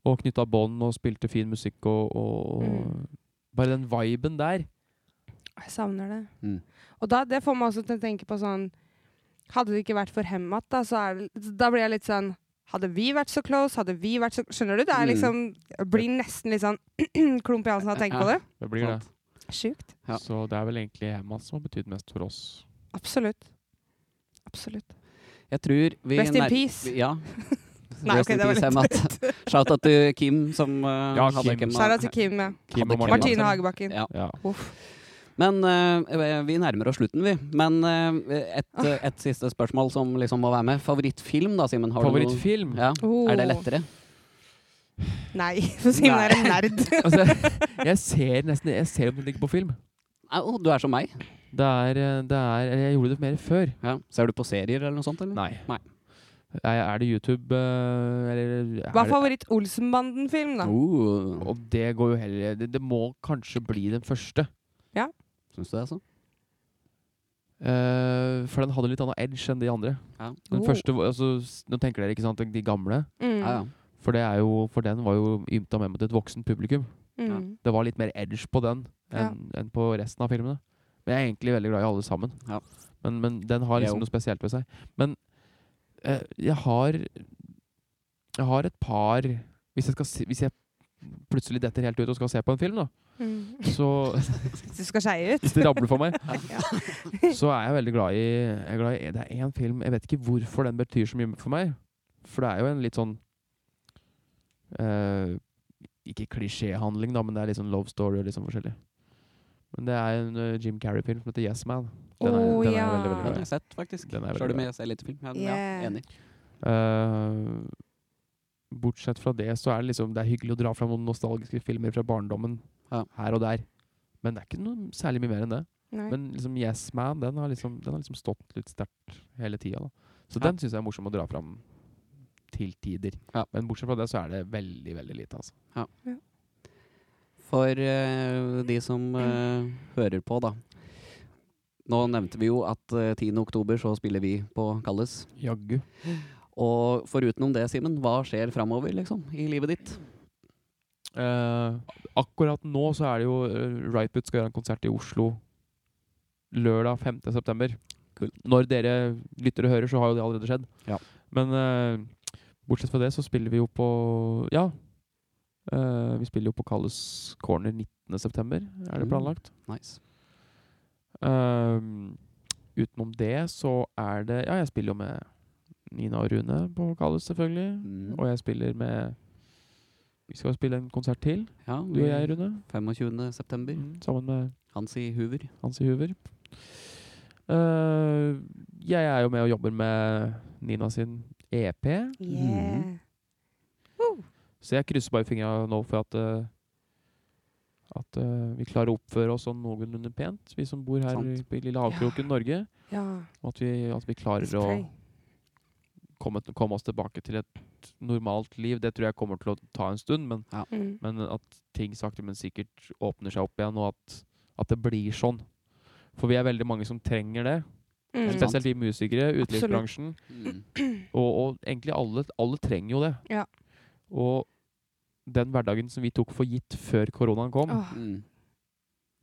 S2: Og knytta bånd og spilte fin musikk og, og
S3: Mm.
S2: Bare den viben der.
S3: Jeg savner det.
S1: Mm.
S3: Og da, det får meg også til å tenke på sånn Hadde det ikke vært for Hemmat, da, så er det, da blir jeg litt sånn Hadde vi vært så close? Hadde vi vært så Skjønner du? Det er
S1: Mm.
S3: liksom jeg Blir nesten litt sånn klump i halsen av å tenke på det.
S2: Det blir det.
S1: Sant.
S3: Sjukt.
S1: Ja.
S2: Så det er vel egentlig hjemmet som har betydd mest for oss.
S3: Absolutt. Absolutt.
S1: Jeg tror vi
S3: Rest in
S1: nær-
S3: peace.
S1: Ja.
S3: Nei,
S1: Rest
S3: ok,
S1: in
S3: det var
S1: peace,
S3: litt
S1: Emma. Shout-out til Kim, som uh,
S2: Ja,
S1: hadde
S2: Kim.
S1: Kim.
S3: Shout-out til Kim. Ja.
S2: Kim
S1: Hadde
S2: og Martine.
S3: Martine Hagebakken.
S1: Ja.
S2: Ja.
S3: Uff.
S1: Men eh, vi nærmer oss slutten, vi. Men eh, et,
S3: Ah.
S1: eh, et siste spørsmål som liksom må være med. Favorittfilm, da, Simen? Har du noen-
S2: Favorittfilm?
S1: Ja.
S3: Oh.
S1: Er det lettere?
S3: Nei, for Simen er en nerd.
S2: Altså, jeg ser nesten Jeg ser omtrent ikke på film.
S1: Au, du er som meg.
S2: Det er, eh, det er eller Jeg gjorde det mer før.
S1: Ja. Ser du på serier eller noe sånt? Eller?
S2: Nei.
S1: Nei.
S2: Er, er det YouTube eh, eller er
S3: Hva er
S2: det,
S3: favoritt-Olsenbanden-film, da?
S1: Oh,
S2: Og det går jo heller det, det må kanskje bli den første.
S1: Syns du det, altså?
S2: Eh, for den hadde litt annen edge enn de andre.
S1: Ja.
S2: Den
S3: Oh.
S2: første, var- altså, s- Nå tenker dere ikke sant, de gamle.
S3: Mm.
S1: Ja, ja.
S2: For, det er jo, for den var jo ymta med mot et voksent publikum.
S3: Mm.
S2: Det var litt mer edge på den
S3: Ja.
S2: enn enn på resten av filmene. Men jeg er egentlig veldig glad i alle sammen.
S1: Ja.
S2: Men, men den har liksom
S1: Jo.
S2: noe spesielt ved seg. Men eh, jeg har Jeg har et par Hvis jeg, skal si, hvis jeg plutselig detter helt ut og skal se på en film, da,
S3: Mm.
S2: så
S3: Du skal skeie ut?
S2: Hvis det rabler for meg,
S3: Ja.
S2: så er jeg veldig glad i, jeg er glad i Det er én film Jeg vet ikke hvorfor den betyr så mye for meg. For det er jo en litt sånn eh, Ikke klisjéhandling, da, men det er litt sånn love story og litt sånn forskjellig. Men det er en eh, Jim Carrey-film som heter Yes Man. Den er,
S3: Å,
S2: den er jeg
S3: ja.
S2: veldig,
S1: Den
S2: veldig
S1: har
S2: glad i.
S1: jeg sett, faktisk.
S2: Den er veldig
S1: Sjøl om
S2: bra.
S1: jeg ser lite film. Ja,
S3: Yeah.
S1: ja, enig.
S2: Eh, bortsett fra det, så er det liksom Det er hyggelig å dra fram noen nostalgiske filmer fra barndommen
S1: Ja.
S2: her og der. Men det er ikke noe særlig mye mer enn det.
S1: Mm.
S3: Nei.
S2: Men liksom Yes Man den har liksom, den har liksom stått litt sterkt hele tida. da. Så
S1: Ja.
S2: den syns jeg er morsom å dra fram til tider.
S1: Ja.
S2: Men bortsett fra det, så er det veldig veldig lite. altså.
S1: For eh, de som eh, hører på, da. Nå nevnte vi jo at eh, 10. oktober så spiller vi på Kalles.
S2: Jaggu.
S1: Og forutenom det, Simen, hva skjer framover liksom, i livet ditt?
S2: Eh, akkurat nå så er det jo eh, Right Boot skal gjøre en konsert i Oslo lørdag 5. september.
S1: Kult.
S2: Når dere lytter og hører, så har jo det allerede skjedd.
S1: Ja.
S2: Men eh, bortsett fra det, så spiller vi jo på Ja. Eh, vi spiller jo på Kalles Corner 19. september, er det
S1: Mm.
S2: planlagt.
S1: Nice.
S2: Ehm, utenom det så er det Ja, jeg spiller jo med Nina og Rune på Kalles, selvfølgelig.
S1: Mm.
S2: Og jeg spiller med Vi skal jo spille en konsert til,
S1: Ja,
S2: du og jeg, Rune.
S1: 25. september.
S2: Mm, sammen med
S1: Hansi Hoover.
S2: Hansi Hoover. Eh, jeg er jo med og jobber med Nina sin E EP,
S3: Yeah.
S2: så jeg krysser bare fingra nå for at eh, at eh, vi klarer å oppføre oss sånn noenlunde pent, vi som bor her
S1: Sant.
S2: i- i lille havkroken Norge.
S3: Ja.
S2: Og at vi, at vi klarer
S3: Let's
S2: å
S3: pray.
S2: komme, komme oss tilbake til et normalt liv. Det tror jeg kommer til å ta en stund, men,
S3: Mm.
S2: men at ting sakte, men sikkert åpner seg opp igjen, og at, at det blir sånn. For vi er veldig mange som trenger det.
S3: Mm.
S1: Spesielt-
S2: Spesielt vi musikere, utelivsbransjen.
S1: Mm.
S2: Og, og egentlig alle, alle trenger jo det.
S3: Ja.
S2: Og den hverdagen som vi tok for gitt før koronaen kom,
S3: Åh,
S1: Mm.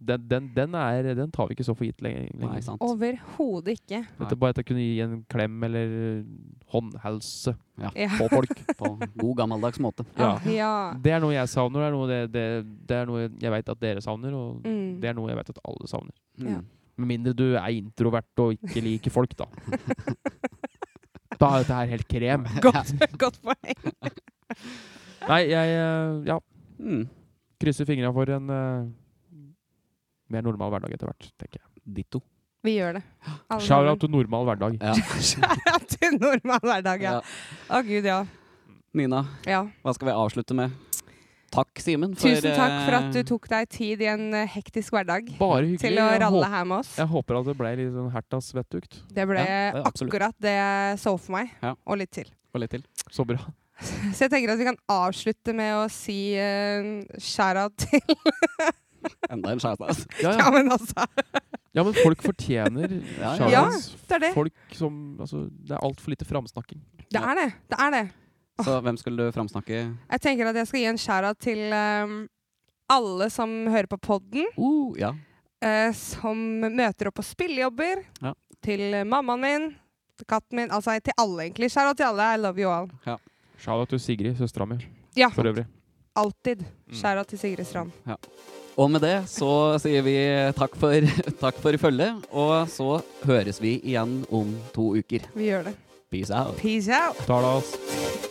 S2: den, den, den, er, den tar vi ikke så for gitt lenger.
S1: Nei, sant.
S3: Overhodet ikke.
S2: Dette bare at jeg kunne gi en klem eller håndhelse
S3: Ja.
S2: på folk.
S1: På god gammeldags måte.
S2: Ja.
S3: Åh, Ah, ja.
S2: Det er noe jeg savner, det er noe, det, det, det er noe jeg veit at dere savner, og
S3: Mm.
S2: det er noe jeg veit at alle savner.
S1: Mm.
S3: Ja.
S2: Med mindre du er introvert og ikke liker folk, da. Da er dette her helt krem.
S3: Godt, godt poeng.
S2: Nei, jeg eh, ja,
S1: Mm.
S2: krysser fingra for en eh, mer normal hverdag etter hvert, tenker jeg.
S1: Ditto.
S3: Vi gjør det. Alle
S2: Shout
S3: sammen.
S2: out til normal hverdag.
S1: Ja.
S3: Shout-out til normal hverdag, ja.
S1: ja.
S3: Å gud, ja.
S1: Nina,
S3: ja.
S1: hva skal vi avslutte med? Takk, Simen. for,
S3: Tusen takk for at du
S1: eh,
S3: tok deg tid i en eh, hektisk hverdag
S2: Bare hyggelig.
S3: til å
S2: Jeg
S3: ralle
S2: håper-
S3: her med oss.
S2: Jeg håper at det ble litt sånn herta svettukt.
S3: Det ble
S1: Ja, det er absolutt.
S3: akkurat det jeg så for meg,
S1: Ja.
S3: og litt til.
S1: Og litt til.
S2: Så bra.
S3: Så jeg tenker at vi kan avslutte med å si uh, shout-out til
S1: Enda en shout out.
S2: Ja,
S3: Ja,
S2: ja.
S3: men altså,
S2: ja men folk fortjener
S1: Ja,
S2: shout
S3: ja.
S2: outs.
S3: det er det.
S2: Folk som Altså, det er altfor lite framsnakking.
S3: Det er det. Det er det.
S1: Så hvem skulle du framsnakke?
S3: Jeg tenker at jeg skal gi en shout-out til eh, alle som hører på podden,
S1: Uh, ja.
S3: eh, som møter opp på spillejobber,
S1: Ja.
S3: til eh, mammaen min, til katten min, altså til alle egentlig. Shout-out til alle. I love you all.
S2: Shout out til Sigrid, søstera mi,
S3: Ja,
S2: for øvrig.
S3: alltid. Shout-out til Sigrid Strand.
S1: Og med det så sier vi takk for, takk for følget, og så høres vi igjen om to uker.
S3: Vi gjør det.
S1: Peace out.
S3: Peace out.
S2: Talas.